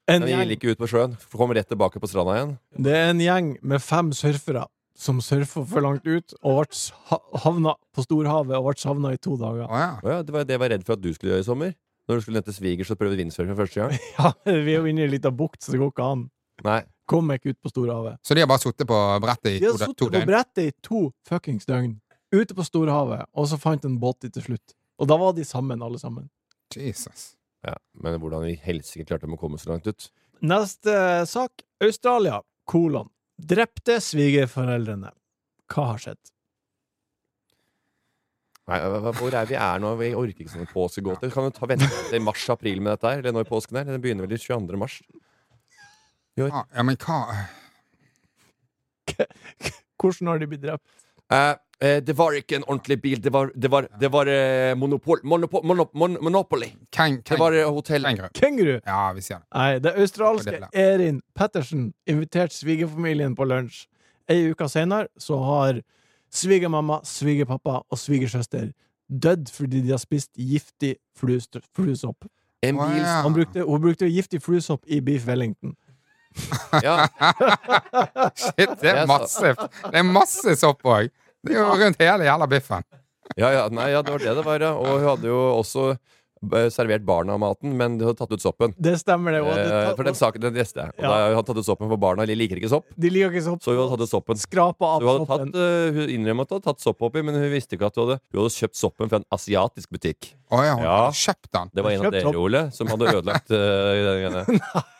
Speaker 1: En
Speaker 2: Den
Speaker 1: gjeng.
Speaker 2: gikk ikke ut på sjøen. Kom rett tilbake på stranda igjen.
Speaker 1: Det er en gjeng med fem surfere som surfa for langt ut og ble sa- havna på storhavet og ble savna i to dager.
Speaker 3: Å ja.
Speaker 2: Å ja, det var det jeg var redd for at du skulle gjøre i sommer. Når du skulle ned til svigers og prøve windsurfing for første
Speaker 3: [LAUGHS]
Speaker 2: gang.
Speaker 1: Ja, [LAUGHS] vi er jo inne i ei lita bukt, så det går ikke an.
Speaker 2: Nei.
Speaker 1: Kom ikke ut på storhavet.
Speaker 3: Så de har bare sittet på brettet i
Speaker 1: De
Speaker 3: to,
Speaker 1: hadde
Speaker 3: dø- to
Speaker 1: sittet på
Speaker 3: døgn?
Speaker 1: brettet i to fuckings døgn, ute på storhavet, og så fant en båt de til slutt. Og da var de sammen, alle sammen.
Speaker 3: Jesus.
Speaker 2: Ja, men hvordan i helsike klarte de å komme så langt ut?
Speaker 1: Neste sak. Australia, kolon. Drepte svigerforeldrene. Hva har skjedd?
Speaker 2: Nei, hva- hva- Hvor er vi er nå? Vi orker ikke sånne påskegåter. Kan du ta vente til mars-april med dette her? Eller når påsken er? Den begynner vel i 22. mars?
Speaker 3: Ah, ja, men hva
Speaker 1: Hvordan har de blitt drept?
Speaker 2: Eh, eh, det var ikke en ordentlig bil. Det var, det var, det var eh, monopol, monopo, monop, mon, Monopoly.
Speaker 3: Keng,
Speaker 2: Det
Speaker 3: keng,
Speaker 2: var eh, hotell.
Speaker 3: kenguru.
Speaker 1: Kenguru!
Speaker 3: Ja, vi sier det.
Speaker 1: Nei, det
Speaker 3: Det
Speaker 1: australske
Speaker 3: er det.
Speaker 1: Erin Pettersen inviterte svigerfamilien på lunsj. Ei uke senere så har svigermamma, svigerpappa og svigersøster dødd fordi de har spist giftig fluest- fluesopp.
Speaker 2: En
Speaker 3: Å,
Speaker 2: bil
Speaker 3: ja.
Speaker 1: Han brukte, hun brukte giftig fluesopp i Beef Wellington.
Speaker 2: Ja,
Speaker 3: Shit, det er masse, det er masse sopp òg! Det er jo rundt hele jævla biffen.
Speaker 2: ja, ja, nei, ja, det var det det var, ja. Og hun hadde jo også eh, servert barna maten, men de hadde tatt ut soppen.
Speaker 1: Det stemmer, det. Hun hadde
Speaker 2: Eh,
Speaker 1: tatt-
Speaker 2: for den saken den leste jeg. Og
Speaker 1: Ja.
Speaker 2: da hadde hun tatt ut soppen, for barna de liker ikke sopp.
Speaker 1: de liker ikke sopp.
Speaker 2: Så hun hadde tatt ut soppen.
Speaker 1: Skrapa
Speaker 2: Så
Speaker 1: av
Speaker 2: hun hadde
Speaker 1: soppen.
Speaker 2: tatt, eh, hun innrømmet at hun hadde tatt sopp oppi, men hun visste ikke at hun hadde, hun hadde kjøpt soppen fra en asiatisk butikk.
Speaker 3: Å ja, hun
Speaker 2: Ja.
Speaker 3: har kjøpt den.
Speaker 2: Det var en av
Speaker 1: Kjøpt
Speaker 2: dere,
Speaker 1: sopp.
Speaker 2: Ole, som hadde ødelagt eh, den greiene.
Speaker 1: [LAUGHS]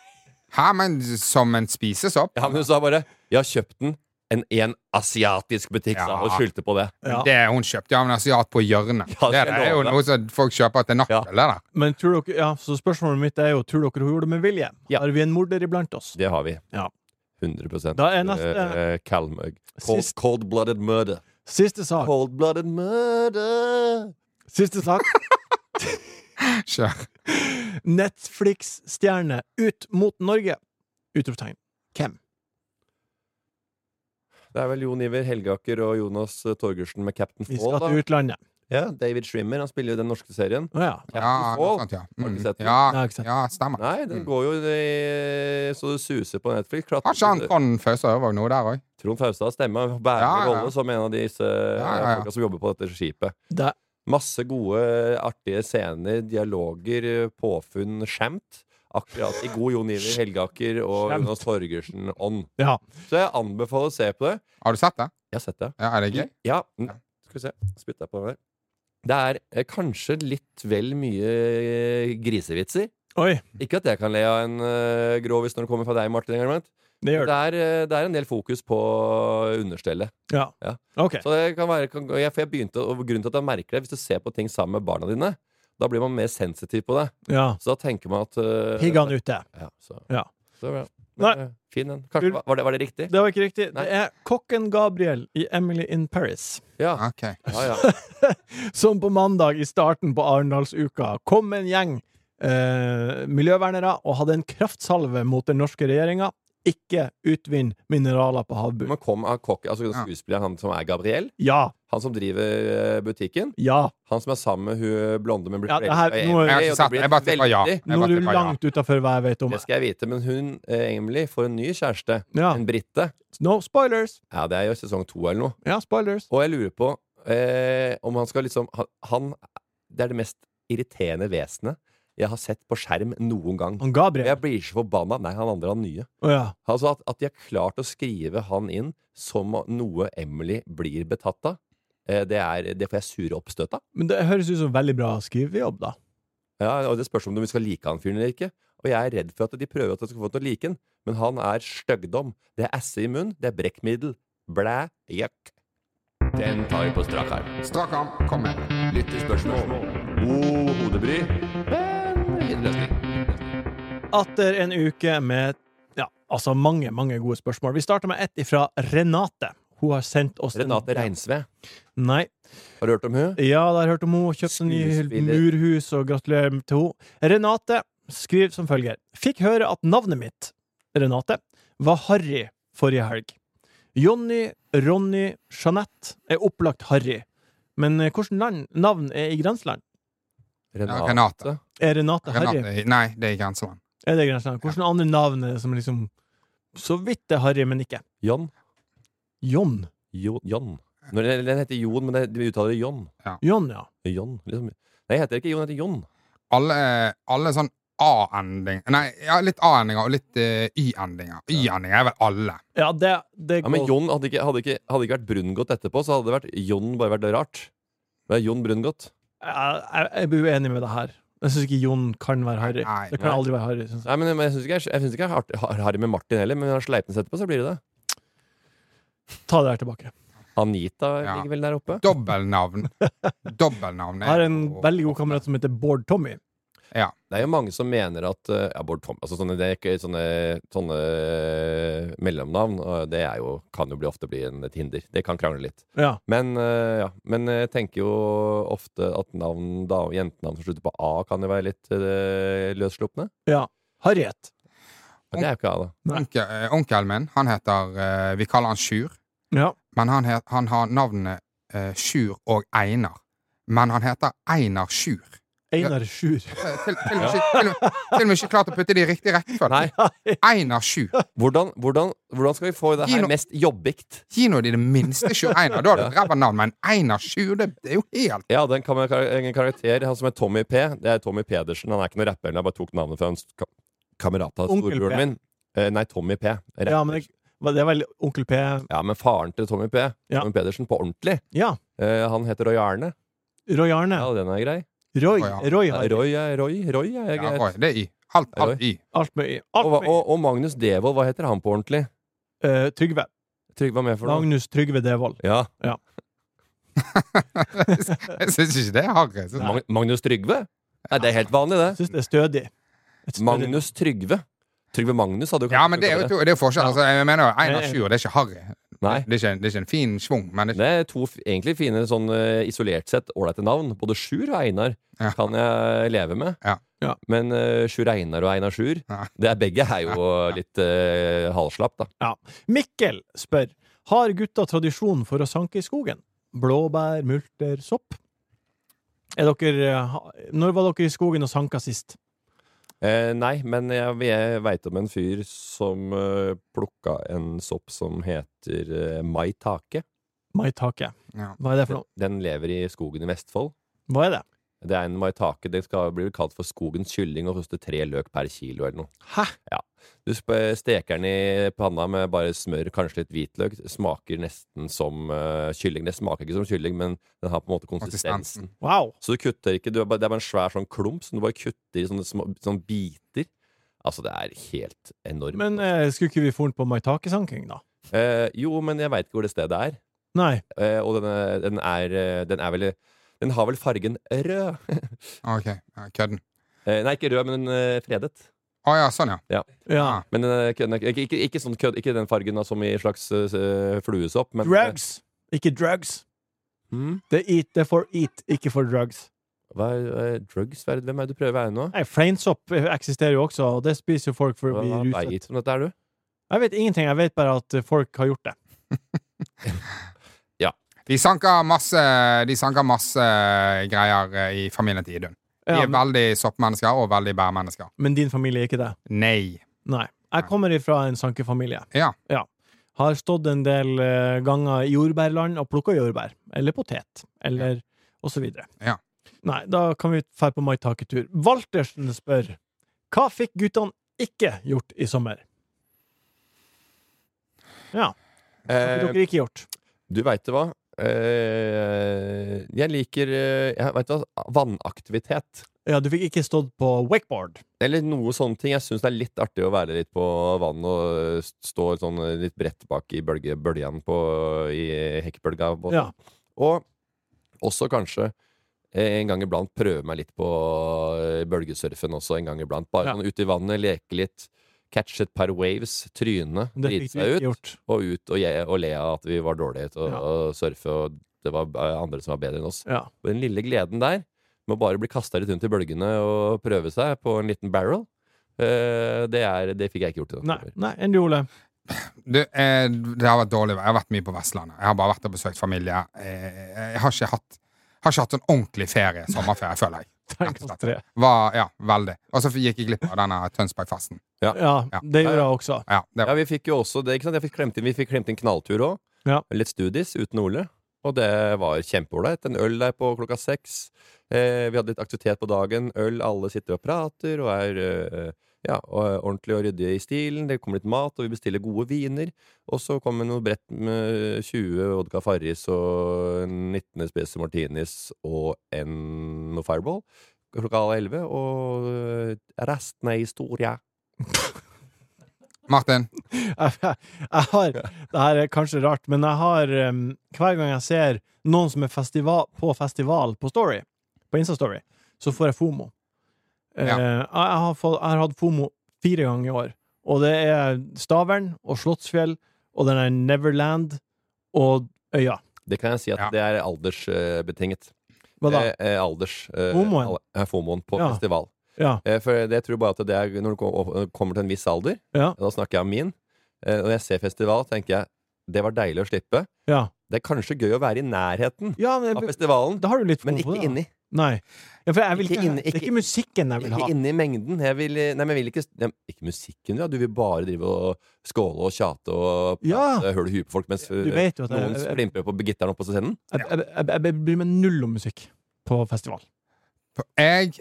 Speaker 3: Hæ, men som en spisesopp?
Speaker 2: Ja, men hun sa bare 'Jeg har kjøpt den en, i en asiatisk butikk', sa
Speaker 3: Ja.
Speaker 2: hun, og skyldte på det.
Speaker 1: Ja.
Speaker 3: Det hun kjøpte av en asiat på hjørnet.
Speaker 2: Ja,
Speaker 3: det,
Speaker 2: det
Speaker 3: er jo
Speaker 2: lover jeg.
Speaker 3: noe som folk kjøper til
Speaker 2: Ja.
Speaker 3: nachspiel. det der.
Speaker 1: Men tror dere, ja, så spørsmålet mitt er jo tror dere hun gjorde det med vilje.
Speaker 2: Ja.
Speaker 1: Har vi en morder iblant oss?
Speaker 2: Det har vi.
Speaker 1: Ja.
Speaker 2: 100
Speaker 1: Da er neste-
Speaker 2: eh, eh, Kalmøg. Cold,
Speaker 1: Sist-
Speaker 2: cold-blooded murder.
Speaker 1: Siste sak.
Speaker 2: Cold-blooded murder!
Speaker 1: Siste sak.
Speaker 3: Kjør.
Speaker 1: Netflix-stjerne ut mot Norge! Utropstegn. Hvem?
Speaker 2: Det er vel Jon Iver Helgaker og Jonas eh, Torgersen med Captain
Speaker 1: Vi skal
Speaker 2: Fall.
Speaker 1: til
Speaker 2: Da.
Speaker 1: utlandet.
Speaker 2: Ja, David Schwimmer. Han spiller jo den norske serien.
Speaker 1: Å ja.
Speaker 2: Captain
Speaker 3: Ja, noe
Speaker 2: Fall.
Speaker 3: sånt, ja.
Speaker 2: Har du
Speaker 3: Mm.
Speaker 2: ikke sett den?
Speaker 3: ja.
Speaker 1: Nei, ikke sant.
Speaker 3: Ja, stemmer.
Speaker 2: Nei, den
Speaker 3: Mm.
Speaker 2: går jo i, så det suser på Netflix. Klart-
Speaker 3: Har ikke han Trond Fause Ørvåg noe der òg?
Speaker 2: Trond Faustad stemmer bærende
Speaker 3: Ja, ja.
Speaker 2: rolle som en av disse
Speaker 3: ja, ja.
Speaker 2: folka som jobber på dette skipet.
Speaker 1: Det,
Speaker 2: Masse gode, artige scener, dialoger, påfunn, skjemt. Akkurat i god Jon Iver Helgaker og
Speaker 1: Skjemt.
Speaker 2: Jonas Torgersen-ånd.
Speaker 1: ja.
Speaker 2: Så jeg anbefaler å se på det.
Speaker 3: Har du sett det?
Speaker 2: Jeg har sett det.
Speaker 3: Ja, Er det gøy?
Speaker 2: Ja, n- skal vi se. Spytta på meg der. Det er eh, kanskje litt vel mye eh, grisevitser.
Speaker 1: Oi,
Speaker 2: Ikke at jeg kan le av en eh, grovis når det kommer fra deg, Martin. Engelbrandt.
Speaker 1: det gjør
Speaker 2: Det
Speaker 1: det.
Speaker 2: er, eh, det er en del fokus på understellet.
Speaker 1: Ja.
Speaker 2: Ja.
Speaker 1: Ok.
Speaker 2: Så det kan være, kan, jeg, for jeg begynte, og grunnen til at jeg merker det, hvis du ser på ting sammen med barna dine, da blir man mer sensitiv på det.
Speaker 1: Ja.
Speaker 2: Så da tenker man at eh,
Speaker 1: Pigg han ute.
Speaker 2: Ja, så,
Speaker 1: Ja.
Speaker 2: så bra.
Speaker 1: Nei.
Speaker 2: Men, eh, Fin den. Kanskje, var- var, det, var det riktig?
Speaker 1: Det var ikke riktig.
Speaker 2: Nei.
Speaker 1: Det er kokken Gabriel i Emily in Paris,
Speaker 2: Ja.
Speaker 3: Ok.
Speaker 2: ja, ja.
Speaker 1: som på mandag i starten på Arendalsuka kom med en gjeng eh, miljøvernere og hadde en kraftsalve mot den norske regjeringa. Ikke utvinn mineraler på havbunnen.
Speaker 2: Men kom av kokk, altså
Speaker 3: Ja.
Speaker 2: skuespilleren han som er Gabriel,
Speaker 1: Ja,
Speaker 2: han som driver eh, butikken,
Speaker 1: ja.
Speaker 2: han som er sammen med hun blonde, men blir
Speaker 1: Ja, det her-
Speaker 2: forelsket i
Speaker 1: nå er-
Speaker 2: Emily,
Speaker 3: Jeg har
Speaker 2: og
Speaker 3: ikke
Speaker 2: det blir
Speaker 3: sett det. Jeg bare
Speaker 2: et
Speaker 3: tipper ja.
Speaker 2: veldig-
Speaker 3: Jeg
Speaker 1: Nå
Speaker 3: bare
Speaker 1: er du
Speaker 3: tipper ja.
Speaker 1: langt utafor hva jeg vet om.
Speaker 2: Det skal jeg vite, men hun, eh, Emily, får en ny kjæreste.
Speaker 1: Ja.
Speaker 2: En brite.
Speaker 1: No spoilers!
Speaker 2: Ja, det er jo sesong to eller noe.
Speaker 1: Ja, spoilers.
Speaker 2: Og jeg lurer på eh, om han skal liksom han, han Det er det mest irriterende vesenet jeg har sett på skjerm noen gang.
Speaker 1: Han Gabriel.
Speaker 2: Jeg blir så forbanna. Nei, han andre, han nye.
Speaker 1: Å ja.
Speaker 2: Altså at, at de har klart å skrive han inn som noe Emily blir betatt av. Eh, det, er, det får jeg sure oppstøt av.
Speaker 1: Men det høres ut som veldig bra skrivejobb, da.
Speaker 2: Ja, og Det spørs om de skal like han fyren eller ikke. Og jeg er redd for at de prøver at jeg skal få han til å like han. Men han er styggdom. Det er esse i munnen, det er brekkmiddel. Blæ, jøkk. Den tar vi på strak arm.
Speaker 3: Strak arm, kom med.
Speaker 2: Lyttespørsmål. God hodebry. Men fin løsning.
Speaker 1: Atter en uke med ja, altså mange, mange gode spørsmål. Vi starter med ett fra Renate. Hun har sendt oss
Speaker 2: Renate Reinsve.
Speaker 1: En... Nei.
Speaker 2: Har du hørt om hun?
Speaker 1: Ja, da har jeg hørt om henne. Kjøpt en ny
Speaker 2: Skuespiller.
Speaker 1: murhus, og gratulerer til henne. Renate skriver som følger. Fikk høre at navnet mitt, Renate, var Harry forrige helg. Jonny, Ronny, Jeanette er opplagt Harry. Men eh, hvordan land, navn er i grenseland?
Speaker 3: Ja, Renate.
Speaker 1: Er Renate, Harry?
Speaker 3: Renate. Nei, det er ikke hans mann.
Speaker 1: Er det i grenseland? Hvordan andre navn er det som liksom Så vidt er Harry, men ikke?
Speaker 2: Jon.
Speaker 1: Jon.
Speaker 2: Jo, Jon. Når den- den heter Jon, men det- de uttaler det Jon.
Speaker 1: Jon, ja.
Speaker 2: Jon. Liksom. Nei, jeg heter ikke Jon, jeg heter Jon.
Speaker 3: Alle, alle sånn A-ending Nei, ja, litt A-endinger og litt eh, Y-endinger. Y-endinger er vel alle.
Speaker 1: Ja, det, det
Speaker 2: Ja, men Jon hadde ikke, hadde ikke, hadde ikke vært Brungot etterpå, så hadde det vært Jon bare vært rart. Det er Jon Brungot.
Speaker 1: jeg, jeg, jeg blir uenig med det her. Jeg syns ikke Jon kan være Harry.
Speaker 3: Nei,
Speaker 1: det kan
Speaker 2: nei.
Speaker 1: aldri være Harry, syns jeg.
Speaker 2: Nei, men jeg syns ikke, jeg synes ikke jeg har har Harry med Martin heller, men når Sleipnes etterpå, så blir det det.
Speaker 1: Ta det her tilbake.
Speaker 2: Anita
Speaker 3: Ja.
Speaker 2: ligger vel der oppe. [LAUGHS]
Speaker 3: Dobbelnavn. Dobbelnavn
Speaker 1: Jeg har en veldig god kamerat som heter Bård Tommy.
Speaker 2: Det er jo mange som mener at eh, ja, Bård Tom, altså sånne, det er ikke, sånne, sånne eh, mellomnavn, og det er jo, kan jo bli, ofte bli en, et hinder. Det kan krangle litt.
Speaker 1: Ja.
Speaker 2: Men, eh, ja. men jeg tenker jo ofte at navn, da, jentenavn som slutter på A, kan jo være litt uh, løsslupne.
Speaker 1: ja. Harriet.
Speaker 2: Men det er jo ikke A, da.
Speaker 1: Nei.
Speaker 3: Onkel, eh, onkelen min, han heter eh, Vi kaller han Sjur.
Speaker 1: Ja.
Speaker 3: Men han, het, han har navnene eh, Sjur og Einar. Men han heter Einar Sjur.
Speaker 1: Einar Sjur.
Speaker 3: Eh, Til, til, og med ikke- til, og med- til og med ikke klart å putte det i riktig rekkefølge. Einar Sjur.
Speaker 2: Hvordan, hvordan, hvordan skal vi få det
Speaker 3: Gi
Speaker 2: her
Speaker 3: noe-
Speaker 2: mest jobbikt?
Speaker 3: Gi nå de det minste Sjur Einar. Da har du et ræva navn, men Einar Sjur, det, det er jo helt
Speaker 2: Ja, den kan være kar- en karakter han som er Tommy P. Det er Tommy Pedersen. Han er ikke noen rapper. Jeg bare tok navnet fra en st- ka- kamerat av
Speaker 1: Onkel P.
Speaker 2: storebroren min. Eh, nei, Tommy P. Rapper.
Speaker 1: Ja, men det, det er vel Onkel P
Speaker 2: Ja, men faren til Tommy P.
Speaker 1: Ja.
Speaker 2: Tommy Pedersen på ordentlig.
Speaker 1: Ja.
Speaker 2: Eh, han heter Roy Arne.
Speaker 1: Roy Arne.
Speaker 2: Ja, den er grei.
Speaker 1: Roy.
Speaker 3: Roy Arne.
Speaker 1: Roy
Speaker 2: Ja,
Speaker 1: Harry.
Speaker 2: Roy er Roy. Roy er
Speaker 3: ja,
Speaker 2: greit.
Speaker 3: Roy, Det er Y. Alt,
Speaker 2: Det er
Speaker 3: alt Y.
Speaker 1: Alt med Y.
Speaker 2: Og,
Speaker 1: Alt med
Speaker 2: hva- og, og Magnus Devold, hva heter han på ordentlig?
Speaker 1: Y. Eh, Trygve.
Speaker 2: Trygve var med for noe.
Speaker 1: Magnus Trygve Devold.
Speaker 2: Ja.
Speaker 3: Jeg syns ikke det er harry. Jeg synes-
Speaker 2: Mag Magnus Trygve? Nei, det er helt vanlig,
Speaker 1: Jeg
Speaker 2: det.
Speaker 1: syns det er stødig. Et stødig-
Speaker 2: Magnus Trygve. Trygve Magnus hadde jo
Speaker 3: Ja, men det er jo to- det er jo forskjell. Altså, jeg mener jo Einar
Speaker 1: Ja.
Speaker 3: Sjur, det er ikke harry.
Speaker 2: Nei.
Speaker 3: Det er ikke, en- det er ikke en fin schwung, men det er ikke
Speaker 2: Det er to f- egentlig fine, sånn eh, isolert sett, ålreite navn. Både Sjur og Einar
Speaker 3: Ja.
Speaker 2: kan jeg leve med.
Speaker 3: Ja.
Speaker 1: Ja.
Speaker 2: Men eh, Sjur Einar og Einar Sjur,
Speaker 3: Ja.
Speaker 2: det er begge er jo litt uh, halvslapp, da.
Speaker 1: Mikkel spør Har gutta tradisjon for å sanke i skogen? Blåbær, multer, sopp? Er dere, ha- når var dere i skogen og sanka sist?
Speaker 2: Eh, nei, men jeg, jeg veit om en fyr som eh, plukka en sopp som heter eh, maitake.
Speaker 1: Maitake.
Speaker 3: Ja.
Speaker 1: Hva er det for noe?
Speaker 2: Den lever i skogen i Vestfold.
Speaker 1: Hva er det?
Speaker 2: Det er en maitake. Det skal bli kalt for skogens kylling og koster tre løk per kilo eller noe.
Speaker 1: Hæ?
Speaker 2: Ja. Du sp- eh, steker den i panna med bare smør, kanskje litt hvitløk. Smaker nesten som eh, kylling. Det smaker ikke som kylling, men den har på en måte konsistensen.
Speaker 3: konsistensen.
Speaker 1: Wow!
Speaker 2: Så du kutter ikke. Du er bare, det er bare en svær sånn klump som du bare kutter i sånne, små, sånne biter. Altså, det er helt enormt.
Speaker 1: Men eh, skulle ikke vi foren på maitakesanking, da?
Speaker 2: Eh, jo, men jeg veit ikke hvor det stedet er.
Speaker 1: Nei.
Speaker 2: Eh, og den er, den, er, eh, den er vel Den har vel fargen rød. [LAUGHS]
Speaker 3: Ok, ja, kødden.
Speaker 2: Eh, nei, ikke rød, men eh, fredet.
Speaker 3: Å ja, sånn, ja.
Speaker 1: Ja.
Speaker 2: Men den er kødden er ikke, ikke, ikke sånn kødd, ikke den fargen da, som i slags eh, fluesopp, men
Speaker 1: Drugs! Ikke drugs.
Speaker 2: Mm.
Speaker 1: Det er eat, det er for eat, ikke for drugs.
Speaker 2: Hva er, hva er drugs? Hva er, det- hvem er det du prøver å være nå?
Speaker 1: Nei, Fleinsopp eh, eksisterer jo også, og det spiser jo folk for
Speaker 2: Hva
Speaker 1: å bli ruset.
Speaker 2: veit om dette er du?
Speaker 1: Jeg vet ingenting, jeg vet bare at eh, folk har gjort det.
Speaker 3: De sanker masse, de sanker masse greier eh, i familien til Idun. De
Speaker 1: Ja,
Speaker 3: er veldig soppmennesker og veldig bærmennesker.
Speaker 1: men din familie er ikke det?
Speaker 3: Nei.
Speaker 1: Nei. Jeg kommer ifra en sankefamilie.
Speaker 3: Ja.
Speaker 1: Har stått en del eh, ganger i jordbærland og plukka jordbær. Eller potet. Eller og så videre.
Speaker 3: Ja.
Speaker 1: Nei, da kan vi dra på maitaketur. Waltersen spør Hva fikk guttene ikke gjort i sommer? Ja, hva fikk
Speaker 2: Eh,
Speaker 1: dere ikke gjort?
Speaker 2: du veit det hva? Eh, jeg liker eh, jeg, vet du hva, vannaktivitet.
Speaker 1: Ja, du fikk ikke stått på wakeboard.
Speaker 2: Eller noe sånne ting. Jeg syns det er litt artig å være litt på vann og eh, stå sånn eh, litt bredt bak i bølge, bølgen på, i hekkbølga. på en måte.
Speaker 1: Ja.
Speaker 2: Og også kanskje eh, en gang iblant prøve meg litt på eh, bølgesurfen også. en gang iblant Bare
Speaker 1: Ja.
Speaker 2: sånn ut i vannet, leke litt, catch et par waves, tryne,
Speaker 1: Det
Speaker 2: drite
Speaker 1: fikk du
Speaker 2: seg
Speaker 1: ikke
Speaker 2: ut,
Speaker 1: gjort.
Speaker 2: og ut og, je- og le av at vi var dårlige til å
Speaker 1: Ja.
Speaker 2: å surfe, og det var eh, andre som var bedre enn oss.
Speaker 1: Ja.
Speaker 2: Og den lille gleden der, med å bare bli kasta litt rundt i bølgene og prøve seg på en liten barrel, eh, det, er, det fikk jeg ikke gjort. i
Speaker 1: Nei,
Speaker 2: sommer.
Speaker 1: nei, enn du, Ole.
Speaker 3: Du, eh, det har vært dårlig vær. Jeg har vært mye på Vestlandet. Jeg har bare vært og besøkt familie. Eh, jeg har ikke hatt, har ikke hatt sånn ordentlig ferie, sommerferie, føler jeg.
Speaker 1: Tenk oss tre.
Speaker 3: Var, ja, veldig. Og så gikk jeg glipp av denne Tønsbergfesten.
Speaker 1: Ja,
Speaker 3: Ja.
Speaker 1: det gjorde jeg også.
Speaker 3: Ja, det
Speaker 2: Ja, vi fikk jo også det, ikke sant? Jeg fikk klemt inn, vi fikk klemt inn knalltur òg.
Speaker 1: Ja.
Speaker 2: Litt studies uten Ole. Og det var kjempeålreit. En øl der på klokka seks. Eh, vi hadde litt aktivitet på dagen. Øl, alle sitter og prater og er eh, ja, og er ordentlig og ryddig i stilen. Det kommer litt mat, og vi bestiller gode viner. Og så kommer noe brett med 20 vodka Farris og 19 Spezi Martinis og en noe Fireball klokka halv elleve. Og eh, resten er historie.
Speaker 3: [LAUGHS] Martin,
Speaker 1: Jeg, jeg har, det her er kanskje rart, men jeg har em, hver gang jeg ser noen som er festival, på festival på Story, på Insta-Story, så får jeg FOMO. Eh,
Speaker 3: Ja.
Speaker 1: jeg, jeg, har fått, jeg har hatt FOMO fire ganger i år, og det er Stavern og Slottsfjell og den er Neverland og Øya.
Speaker 2: Det kan jeg si at
Speaker 3: Ja.
Speaker 2: det er aldersbetinget.
Speaker 1: Hva da?
Speaker 2: Eh, eh, alders. Eh,
Speaker 1: Homoen.
Speaker 2: al- eh, FOMOen på
Speaker 1: Ja.
Speaker 2: festival.
Speaker 1: Ja.
Speaker 2: Eh, for det, jeg tror bare at det er når du kom- når du kommer til en viss alder,
Speaker 1: Ja.
Speaker 2: da snakker jeg om min, eh, når jeg ser festival, tenker jeg det var deilig å slippe.
Speaker 1: Ja,
Speaker 2: Det er kanskje gøy å være i nærheten
Speaker 1: ja men
Speaker 2: av
Speaker 1: jeg,
Speaker 2: festivalen,
Speaker 1: da har du litt
Speaker 2: men
Speaker 1: FOMO på
Speaker 2: ikke
Speaker 1: det. da.
Speaker 2: inni.
Speaker 1: Nei. Ja, for jeg vil
Speaker 2: Ikke
Speaker 1: ikke,
Speaker 2: inni-
Speaker 1: det er
Speaker 2: ikke-
Speaker 1: ikke musikken jeg vil ha.
Speaker 2: Ikke inni mengden. Jeg vil, eh, nei, men jeg vil ikke nei, Ikke musikken, ja. Du vil bare drive og skåle og tjate og
Speaker 1: Ja.
Speaker 2: prate høl i huet på folk mens
Speaker 1: Du
Speaker 2: eh,
Speaker 1: vet jo at jeg,
Speaker 2: noen
Speaker 1: jeg, jeg,
Speaker 2: flimper på gitaren oppe på scenen.
Speaker 1: jeg, jeg, jeg, jeg bryr meg null om musikk på festival.
Speaker 3: jeg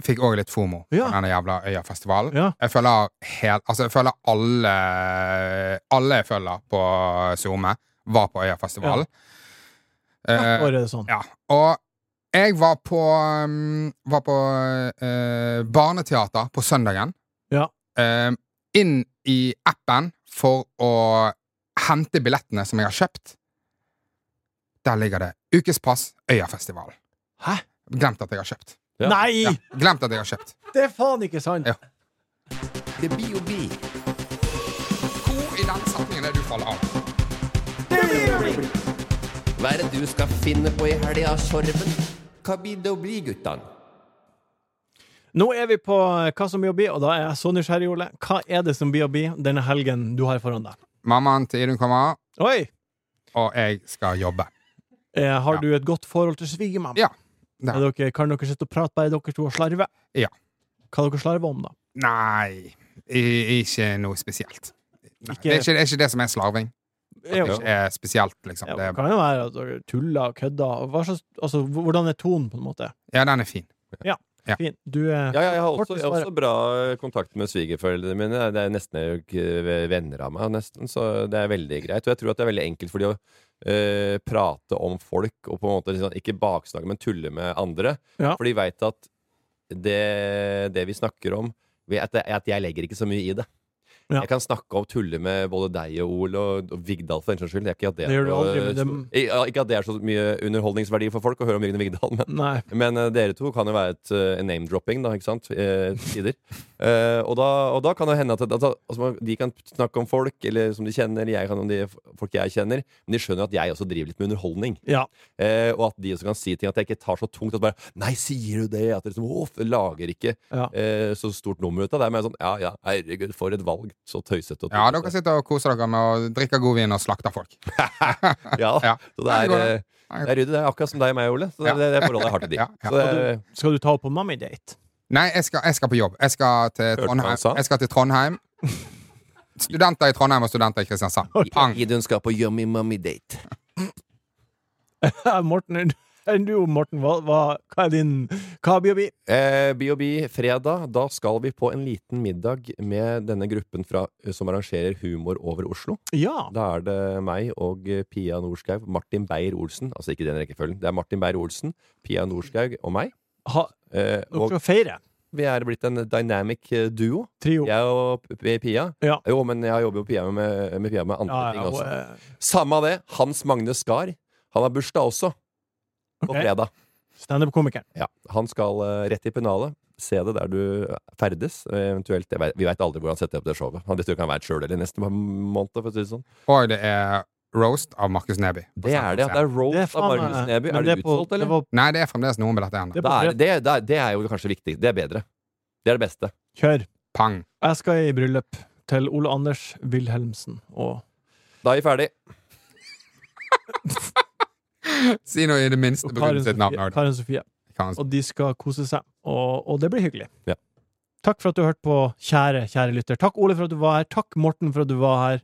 Speaker 3: fikk òg litt fomo
Speaker 1: Ja.
Speaker 3: på denne jævla Øyafestivalen.
Speaker 1: Ja.
Speaker 3: Jeg føler helt Altså, jeg føler alle Alle jeg følger på SoMe, var på Øyafestivalen.
Speaker 1: [LAUGHS] Hvert
Speaker 3: Eh,
Speaker 1: år er det sånn.
Speaker 3: Ja, og jeg var på, um, var på eh, barneteater på søndagen.
Speaker 1: Ja.
Speaker 3: Eh, inn i appen for å hente billettene som jeg har kjøpt. Der ligger det ukespass Øyafestivalen.
Speaker 1: Hæ?
Speaker 3: Glemt at jeg har kjøpt.
Speaker 2: Ja.
Speaker 1: Nei!
Speaker 3: Ja, glemt at jeg har kjøpt.
Speaker 1: Det er faen ikke sant!
Speaker 3: Ja. Hvor i den setningen er du faller av?
Speaker 2: Hva er det du skal finne på i helga, Sorven? Hva blir det å bli, guttan?
Speaker 1: Nå er vi på eh, hva som blir å bli, og da er jeg så nysgjerrig, Ole. Hva er det som blir å bli denne helgen du har foran deg?
Speaker 3: Mammaen til Idun kommer,
Speaker 1: Oi!
Speaker 3: og jeg skal jobbe.
Speaker 1: Eh, har
Speaker 3: Ja.
Speaker 1: du et godt forhold til svigermamma?
Speaker 3: Ja.
Speaker 1: Er Dere, kan dere sitte og prate bare dere to og slarve?
Speaker 3: Ja.
Speaker 1: Hva dere slarver om, da?
Speaker 3: Nei, i- ikke noe spesielt. Nei,
Speaker 1: Ikke-
Speaker 3: det, er ikke, det er ikke det som er slarving.
Speaker 1: Eh,
Speaker 3: Det ikke er spesielt, liksom.
Speaker 1: Ja,
Speaker 3: Det
Speaker 1: det
Speaker 3: er,
Speaker 1: kan jo være at dere tuller og kødder. og Hva slags, altså, hvordan er tonen, på en måte?
Speaker 3: ja, den er fin. Ja.
Speaker 1: Fin. Du eh, er
Speaker 2: Ja, ja, jeg har også,
Speaker 1: Kort
Speaker 2: jeg har
Speaker 1: svaret.
Speaker 2: også bra kontakt med svigerforeldrene mine. Det er nesten jeg er jo ikke venner av meg, nesten, så det er veldig greit. Og jeg tror at det er veldig enkelt for de å eh, prate om folk og på en måte liksom, ikke baksnakke, men tulle med andre.
Speaker 1: Ja.
Speaker 2: For de veit at det, det vi snakker om vi- at, jeg- at jeg legger ikke så mye i det.
Speaker 1: Ja.
Speaker 2: Jeg kan snakke og tulle med både deg og Ole og, og Vigdal, for den saks skyld. Det, er ikke at det, er
Speaker 1: Det gjør du
Speaker 2: noe-
Speaker 1: aldri, men dem-
Speaker 2: Ja, Ikke at det er så mye underholdningsverdi for folk å høre om Jørgen Vigdal, men
Speaker 1: Nei.
Speaker 2: men eh, dere to kan jo være et eh, en name-dropping, da, ikke sant? Eh, tider. Eh, og, da, og da kan det hende at at- at- altså, de kan snakke om folk eller som de kjenner, jeg kan om de folk jeg kjenner, men de skjønner jo at jeg også driver litt med underholdning.
Speaker 1: Ja.
Speaker 2: Eh, og at de også kan si ting at jeg ikke tar så tungt at bare Nei, sier du det? At det liksom, åh, lager ikke
Speaker 1: Ja.
Speaker 2: eh, så stort nummer ut av det. Men jeg er sånn, ja ja, herregud, for et valg. Så tøysete og
Speaker 3: Ja, dere sitter og koser dere med å drikke god vin og slakte folk.
Speaker 2: Ja,
Speaker 3: Ja.
Speaker 2: Så det er,
Speaker 3: Ja, det går
Speaker 2: eh, det er ryddig. Det er akkurat som deg og meg, Ole. Så det
Speaker 3: Ja.
Speaker 2: er det, det forholdet jeg har til de.
Speaker 3: Ja, ja.
Speaker 2: Så eh, det, er-
Speaker 1: Skal du ta opp på mommy-date?
Speaker 3: Nei, jeg skal, jeg skal på jobb. Jeg skal til
Speaker 2: du hva han sa?
Speaker 3: Trondheim. Jeg skal til
Speaker 1: [LAUGHS]
Speaker 3: Trondheim. Studenter i Trondheim og studenter i Kristiansand. Pang!
Speaker 2: Idun skal på Yummy Mummy Date.
Speaker 1: [LAUGHS] Morten, er du- Enn du, Morten, hva, hva, hva er din Hva blir vi?
Speaker 2: Eh, B&B fredag, da skal vi på en liten middag med denne gruppen fra, eh, som arrangerer Humor over Oslo.
Speaker 1: Ja.
Speaker 2: Da er det meg og eh, Pia Norskaug, Martin Beyer-Olsen Altså ikke den rekkefølgen. Det er Martin Beyer-Olsen, Pia Norskaug og meg.
Speaker 1: Ha,
Speaker 2: Eh,
Speaker 1: dere
Speaker 2: og
Speaker 1: skal feire.
Speaker 2: vi er blitt en dynamic eh, duo.
Speaker 1: Trio.
Speaker 2: Jeg og P- Pia.
Speaker 1: Ja.
Speaker 2: Jo, men jeg jobber jo Pia med, med Pia med andre
Speaker 1: Ja,
Speaker 2: ting altså.
Speaker 1: ja,
Speaker 2: også.
Speaker 1: og, eh,
Speaker 2: Samme av det. Hans Magne Skar. Han har bursdag også. På
Speaker 1: Ok.
Speaker 2: fredag.
Speaker 1: Standup-komikeren.
Speaker 2: Ja, han skal eh, rett i pennalet. Se det der du ferdes. eh, Eventuelt, jeg vet, vi veit aldri hvor han setter opp det showet. Han vet jo ikke om han veit sjøl eller neste måned. For å si det sånn.
Speaker 3: Og det er roast av Markus Neby. på
Speaker 2: Det er det. at Det
Speaker 3: Snapchat.
Speaker 2: er roast av Magnus Neby.
Speaker 1: eh, men
Speaker 2: Er det
Speaker 1: er på-
Speaker 2: utsolgt, eller?
Speaker 1: Det var,
Speaker 3: Nei, det er fremdeles noen billetter igjen.
Speaker 1: [LAUGHS] det er
Speaker 2: Det
Speaker 1: på
Speaker 2: er,
Speaker 1: fredag.
Speaker 2: det, det, er, det er jo kanskje viktig. Det er bedre. Det er det beste.
Speaker 1: Kjør.
Speaker 3: Pang.
Speaker 1: Jeg skal i bryllup til Ole Anders Wilhelmsen og
Speaker 2: Da er vi ferdig.
Speaker 3: Si noe i det minste
Speaker 1: og
Speaker 3: på grunn av sitt navn.
Speaker 1: Sofie,
Speaker 3: Aud.
Speaker 1: Karen Sofie.
Speaker 3: Karen-
Speaker 1: Og de skal kose seg. Og, og det blir hyggelig.
Speaker 2: Ja.
Speaker 1: Takk for at du hørte på, kjære, kjære lytter. Takk, Ole, for at du var her. Takk, Morten, for at du var her.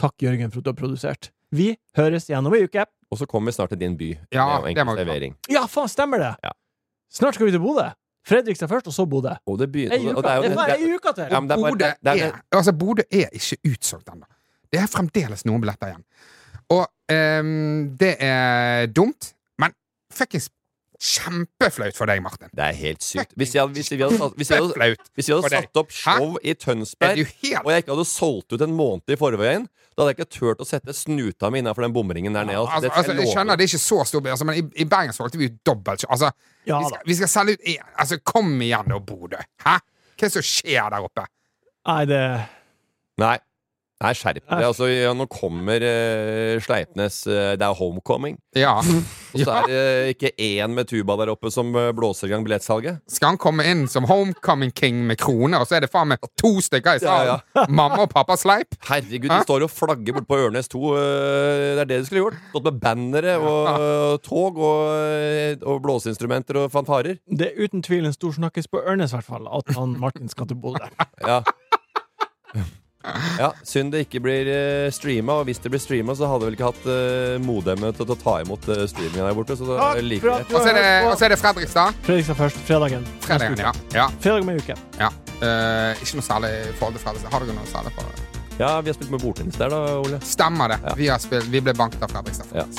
Speaker 1: Takk, Jørgen, for at du har produsert. Vi høres igjen om ei uke.
Speaker 2: Og så kommer vi snart til din by. det er
Speaker 3: Ja,
Speaker 2: jo
Speaker 3: det må
Speaker 2: enkel
Speaker 3: vi ta.
Speaker 2: servering.
Speaker 1: Ja, faen, stemmer det!
Speaker 2: Ja.
Speaker 1: Snart skal vi til Bodø. Fredrikstad først, og så Bodø.
Speaker 2: Og det begynner
Speaker 1: Ei uke.
Speaker 2: og det er jo-
Speaker 1: Det er bare ei uke
Speaker 2: Ja,
Speaker 1: til!
Speaker 2: men det er bare-
Speaker 3: Bodø
Speaker 2: det- det er-
Speaker 3: er, altså, Bodø er ikke utsolgt ennå. Det er fremdeles noen billetter igjen. Og ehm, det er dumt, men fuckings kjempeflaut for deg, Martin.
Speaker 2: Det er helt sykt. Hvis, jeg, hvis, vi hadde, satt- hvis, vi hadde,
Speaker 3: Kjempeflaut.
Speaker 2: hvis vi hadde
Speaker 3: for deg.
Speaker 2: satt opp
Speaker 3: Hæ?
Speaker 2: show i
Speaker 3: Er du
Speaker 2: Tønsberg,
Speaker 3: helt
Speaker 2: og jeg ikke hadde solgt ut en måned i forveien, da hadde jeg ikke turt å sette snuta mi innafor den bomringen der nede. Altså,
Speaker 3: Altså,
Speaker 2: det skal
Speaker 3: altså,
Speaker 2: jeg
Speaker 3: jeg
Speaker 2: love.
Speaker 3: skjønner det er ikke så stor by, altså, men i, i Bergen solgte vi ut dobbelt. Altså,
Speaker 1: Ja
Speaker 3: vi,
Speaker 1: da.
Speaker 3: skal, vi skal selge ut én. Altså, kom igjen nå, Bodø. Hæ? Hva er det som skjer der oppe?
Speaker 1: Nei, det
Speaker 2: Nei. Nei, skjerp deg. Altså, ja, nå kommer eh, Sleipnes eh, Det er homecoming.
Speaker 3: Ja.
Speaker 2: Og så er det eh, ikke én med tuba der oppe som eh, blåser i gang billettsalget.
Speaker 3: Skal han komme inn som homecoming king med krone, og så er det faen meg to stykker i
Speaker 2: Ja, ja.
Speaker 3: salen? Mamma og pappa sleip?
Speaker 2: Herregud,
Speaker 3: Hæ?
Speaker 2: de står og flagger borte på Ørnes 2. øh, Det er det de skulle gjort. Stått med bannere og øh, tog og, øh, og blåseinstrumenter og fanfarer.
Speaker 1: det er uten tvil en stor snakkis på Ørnes, i hvert fall, at han Martin skal til
Speaker 2: [LAUGHS]
Speaker 1: Bodø.
Speaker 2: Ja. ja. Synd det ikke blir øh, streama, og hvis det blir streama, så hadde jeg vel ikke hatt øh, modemet til å ta imot øh, streaminga der borte. Så da
Speaker 1: Takk
Speaker 2: liker
Speaker 1: for
Speaker 2: jeg
Speaker 1: at
Speaker 2: det.
Speaker 1: du
Speaker 3: Og så er det, og
Speaker 1: hører
Speaker 3: så er det Fredrikstad.
Speaker 1: på. Fredrikstad først. Fredagen.
Speaker 3: Fredagen, ja. ja,
Speaker 1: Fredag om ei uke.
Speaker 3: ja. Eh, ikke noe særlig i forhold til Fredrikstad. Har dere noe særlig på det?
Speaker 2: Ja, vi har spilt med bordtennis der, da, Ole.
Speaker 3: Stemmer det. Vi, har spilt, vi ble banket av Fredrikstad.
Speaker 2: Ja.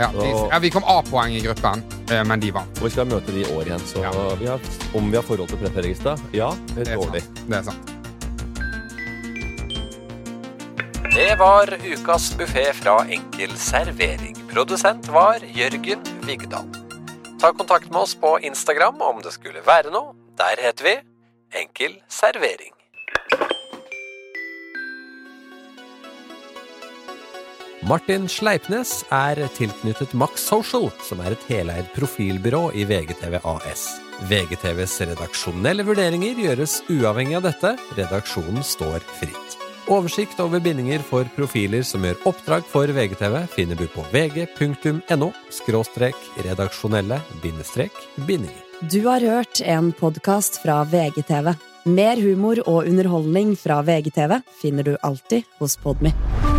Speaker 3: Ja, de, ja, vi kom A-poeng i gruppen, eh, men de vant.
Speaker 2: Og vi skal møte de i år igjen, så
Speaker 3: Ja.
Speaker 2: vi har, om vi har forhold til Preferigstad? Ja, det
Speaker 3: Det
Speaker 2: er
Speaker 3: er
Speaker 2: dårlig.
Speaker 3: sant. Det er sant.
Speaker 8: Det var ukas buffé fra Enkel servering. Produsent var Jørgen Vigdal. Ta kontakt med oss på Instagram om det skulle være noe. Der heter vi Enkel servering. Martin Sleipnes er tilknyttet Max Social, som er et heleid profilbyrå i VGTV AS. VGTVs redaksjonelle vurderinger gjøres uavhengig av dette. Redaksjonen står fritt. Oversikt over bindinger for profiler som gjør oppdrag for VGTV, finner du på vg.no – redaksjonelle – bindinger.
Speaker 9: Du har hørt en podkast fra VGTV. Mer humor og underholdning fra VGTV finner du alltid hos Podmy.